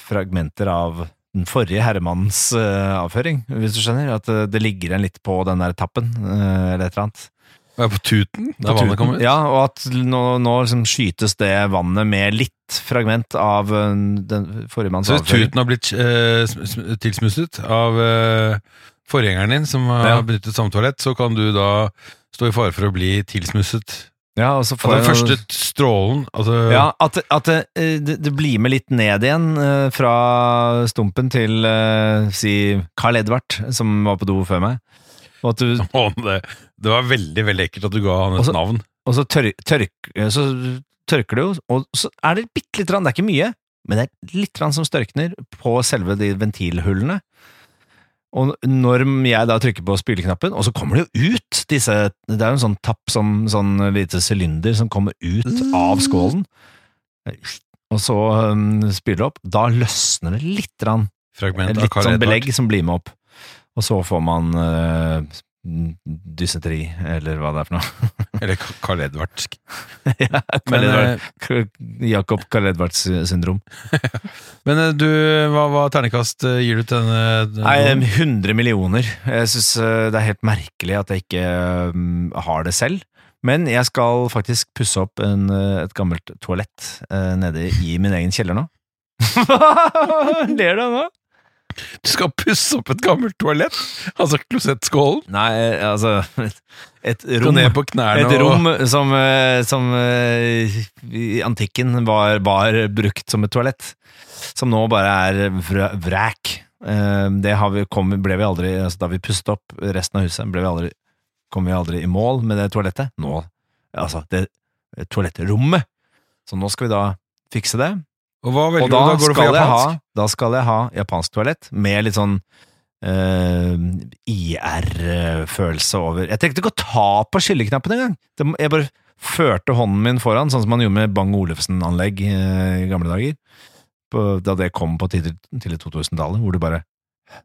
S2: fragmenter av den forrige herremannens øh, avføring, hvis du skjønner. At øh, det ligger igjen litt på den der tappen, øh, eller et eller annet.
S1: Og jeg er på tuten. Det er vannet kommer ut.
S2: Ja, og at nå, nå liksom skytes det vannet med litt fragment av ø, den forrige manns
S1: Så hvis
S2: avføring.
S1: tuten har blitt eh, sm- sm- tilsmusset av eh, forgjengeren din, som
S2: Ja.
S1: har benyttet samme toalett, så kan du da stå i fare for å bli tilsmusset
S2: Ja, og
S1: Ja,
S2: så får
S1: den
S2: jeg-
S1: første strålen altså,
S2: ja, at, at det, ø, det, det blir med litt ned igjen ø, fra stumpen til ø, si Carl Edvard, som var på do før meg. Og at du
S1: å, det, det var veldig veldig ekkelt at du ga han et
S2: Og så-
S1: navn.
S2: Og så, tør, tørk, så tørker det jo, og så er det bitte litt, rann, det er ikke mye, men det er litt rann som størkner på selve de ventilhullene. Og når jeg da trykker på spyleknappen, og så kommer det jo ut disse Det er jo en sånn tapp, sånn, sånn lite sylinder som kommer ut av skålen. Og så um, spyler det opp. Da løsner det litt. Rann,
S1: Fragment av
S2: litt
S1: Karl
S2: sånn
S1: Edvard.
S2: belegg som blir med opp. Og så får man uh, dysenteri, eller hva det er for noe.
S1: Eller Ka- Karl Edvard.
S2: ja,
S1: Men,
S2: Edvard.
S1: eh,
S2: K- Jakob Karl Edvards syndrom.
S1: men eh, du, hva, hva ternekast eh, gir du til denne? denne-
S2: Nei, 100 millioner. Jeg syns det er helt merkelig at jeg ikke mm, har det selv. Men jeg skal faktisk pusse opp en, eh, et gammelt toalett eh, nede i min egen kjeller nå. Ler du av nå?
S1: du skal pusse opp et gammelt toalett? Altså klosettskålen?
S2: Nei, eh, altså Et, et
S1: Gå
S2: rom
S1: ned på knærne
S2: Et rom som, eh, som eh, i antikken var, var brukt som et toalett, som nå bare er vr- vræk. Eh, Det har vi, kom, ble vi aldri, altså da vi pustet opp resten av huset, ble vi aldri, kom vi aldri i mål med det toalettet. Nå, altså, det toalettrommet. Så nå skal vi da fikse det.
S1: og hva
S2: Og
S1: velger
S2: da,
S1: du? Da går du for
S2: skal jeg ha,
S1: japansk?
S2: da skal jeg ha japansk toalett med litt sånn eh, IR-følelse over Jeg trengte ikke å ta på skylleknappen engang! Det må- Jeg bare førte hånden min foran, sånn som man gjorde med Bang-Olufsen-anlegg eh, i gamle dager. På, da det kom på tidlig, tidlig 2000-tallet, hvor du bare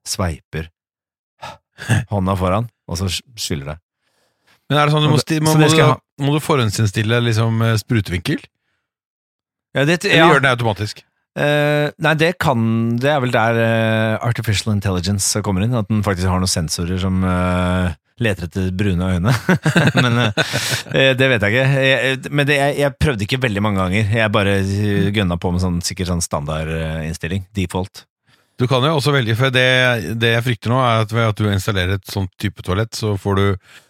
S2: sveiper hånda foran, og så sk- skyller det.
S1: Men er det sånn du
S2: Og
S1: må,
S2: det-
S1: sti,
S2: så
S1: må,
S2: det
S1: må,
S2: skal jeg ha.
S1: du, må du forhåndsinnstille liksom, eh, sprutevinkel? Eller gjør den automatisk?
S2: Eh, nei, det kan Det er vel der eh, artificial intelligence kommer inn. At den faktisk har noen sensorer som eh, leter etter brune øyne. men eh, eh, det vet jeg ikke. Jeg, men det, jeg, jeg prøvde ikke veldig mange ganger. Jeg bare eh, gønna på med sånn, sikkert sånn standardinnstilling. Default.
S1: Du kan jo også velge, for det, det jeg frykter nå, er at ved at du installerer et sånt type toalett, så får du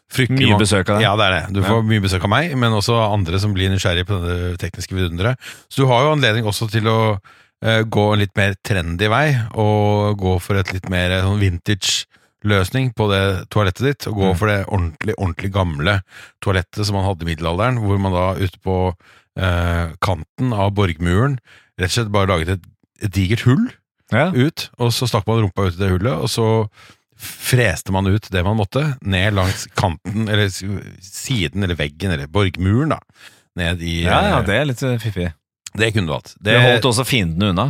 S1: fryktelig
S2: Mye
S1: mange-
S2: besøk av det.
S1: Ja, det er det. Du
S2: Ja.
S1: får mye besøk av meg, men også andre som blir nysgjerrige på det tekniske vidunderet. Så du har jo anledning også til å eh, gå en litt mer trendy vei, og gå for et litt mer eh, sånn vintage løsning på det toalettet ditt, og gå
S2: Mm.
S1: for det ordentlig, ordentlig gamle toalettet som man hadde i middelalderen, hvor man da ute på eh, kanten av borgmuren. Rett og slett bare laget et, et digert hull
S2: Ja.
S1: ut, og så stakk man rumpa ut i det hullet, og så freste man ut det man måtte, ned langs kanten, eller s- siden, eller veggen, eller borgmuren, da. Ned i
S2: ja, ja,
S1: eh,
S2: det er litt eh, fiffig.
S1: det kunne du hatt.
S2: Det, holdt også fiendene unna,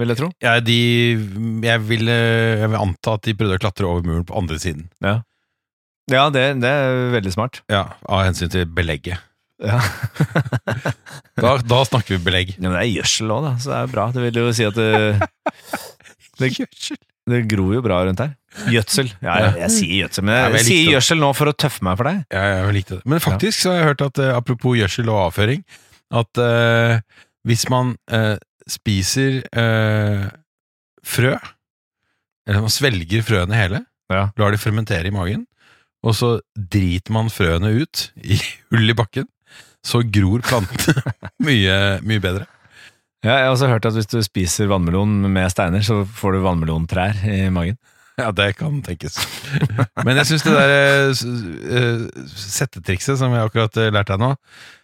S2: vil jeg tro.
S1: Ja, de, jeg, ville, jeg vil anta at de prøvde å klatre over muren på andre siden.
S2: Ja, det, det er veldig smart.
S1: Ja, Av hensyn til belegget.
S2: Ja.
S1: Da, da snakker vi belegg.
S2: men det er gjødsel òg, da, så det er jo bra. Det vil jo si at det, det, det gror jo bra rundt her. Gjødsel. Ja, jeg, jeg sier gjødsel, men
S1: Ja,
S2: jeg,
S1: men jeg
S2: sier
S1: likte
S2: gjødsel nå for å tøffe meg for deg.
S1: Ja, jeg likte det. Men faktisk så har jeg hørt at eh, apropos gjødsel og avføring, at eh, hvis man eh, spiser eh, frø, eller man svelger frøene hele,
S2: Ja.
S1: lar de fermentere i magen, og så driter man frøene ut i hull i bakken, så gror plantene mye, mye bedre.
S2: Ja, jeg har også hørt at hvis du spiser vannmelon med steiner, så får du vannmelontrær i magen.
S1: Ja, det kan tenkes. Men jeg syns det der eh, s- eh, settetrikset som jeg akkurat eh, lærte deg nå,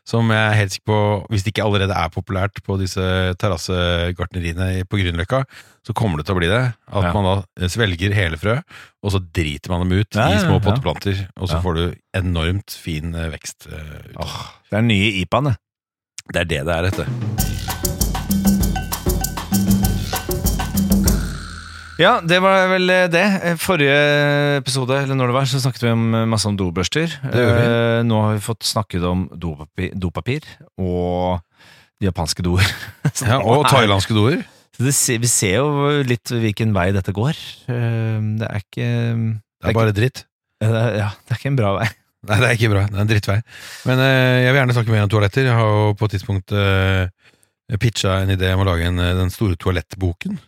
S1: som jeg er helt sikker på, hvis det ikke allerede er populært på disse terrassegartneriene i- på Grünerløkka, så kommer det til å bli det. At
S2: Ja.
S1: man da eh, svelger hele frø, og så driter man dem ut
S2: Ja, ja,
S1: i små
S2: ja.
S1: potteplanter, og så
S2: Ja.
S1: får du enormt fin eh, vekst. eh, ut av det.
S2: Det er den nye IPA-en, det.
S1: Det er det det er, dette.
S2: Ja, det var vel eh, det. Forrige episode, eller når det var, så snakket vi om, eh, masse om dobørster.
S1: gjorde vi.
S2: Eh, Nå har vi fått snakket om dopapir, dopapir og de japanske doer. Så
S1: Ja, og
S2: det er-
S1: thailandske doer.
S2: Så det se- Vi ser jo litt hvilken vei dette går. Eh, Det er ikke
S1: Det er bare dritt.
S2: Ja, det er- Ja, det er ikke en bra vei.
S1: Nei, det er ikke bra. Det er en drittvei. Men eh, jeg vil gjerne snakke mer om toaletter. Jeg har jo på et tidspunkt eh, pitcha en idé om å lage en, eh, den store toalettboken.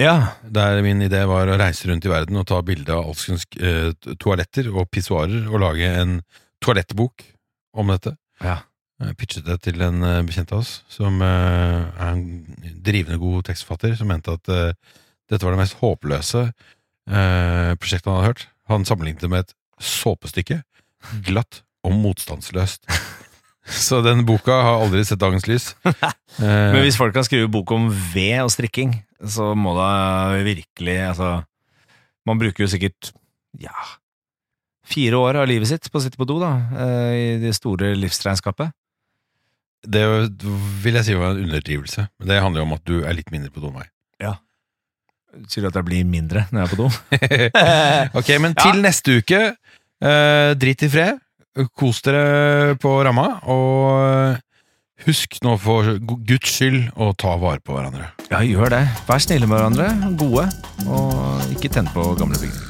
S2: Ja,
S1: Der min idé var å reise rundt i verden og ta bilde av alskens eh, to- toaletter og pissoarer og lage en toalettbok om dette.
S2: Ja.
S1: Jeg pitchet det til en eh, bekjent av oss som eh, er en drivende god tekstforfatter, som mente at eh, dette var det mest håpløse eh, prosjektet han hadde hørt. Han sammenlignet det med et såpestykke. Glatt og motstandsløst. Så den boka har aldri sett dagens lys. Eh,
S2: Men hvis folk kan skrive bok om ved og strikking, så må da virkelig altså, Man bruker jo sikkert ja, fire år av livet sitt på å sitte på do, da, eh, i det store livsregnskapet.
S1: Det vil jeg si var en underdrivelse. Men det handler jo om at du er litt mindre på do enn meg.
S2: Sier du at jeg blir mindre når jeg er på do?
S1: ok, men
S2: Ja.
S1: til neste uke. eh, drit i fred. Kos dere på ramma. Og eh, husk nå for guds skyld å ta vare på hverandre.
S2: Ja, gjør det. Vær snille med hverandre, gode, og ikke tenn på gamle bygninger.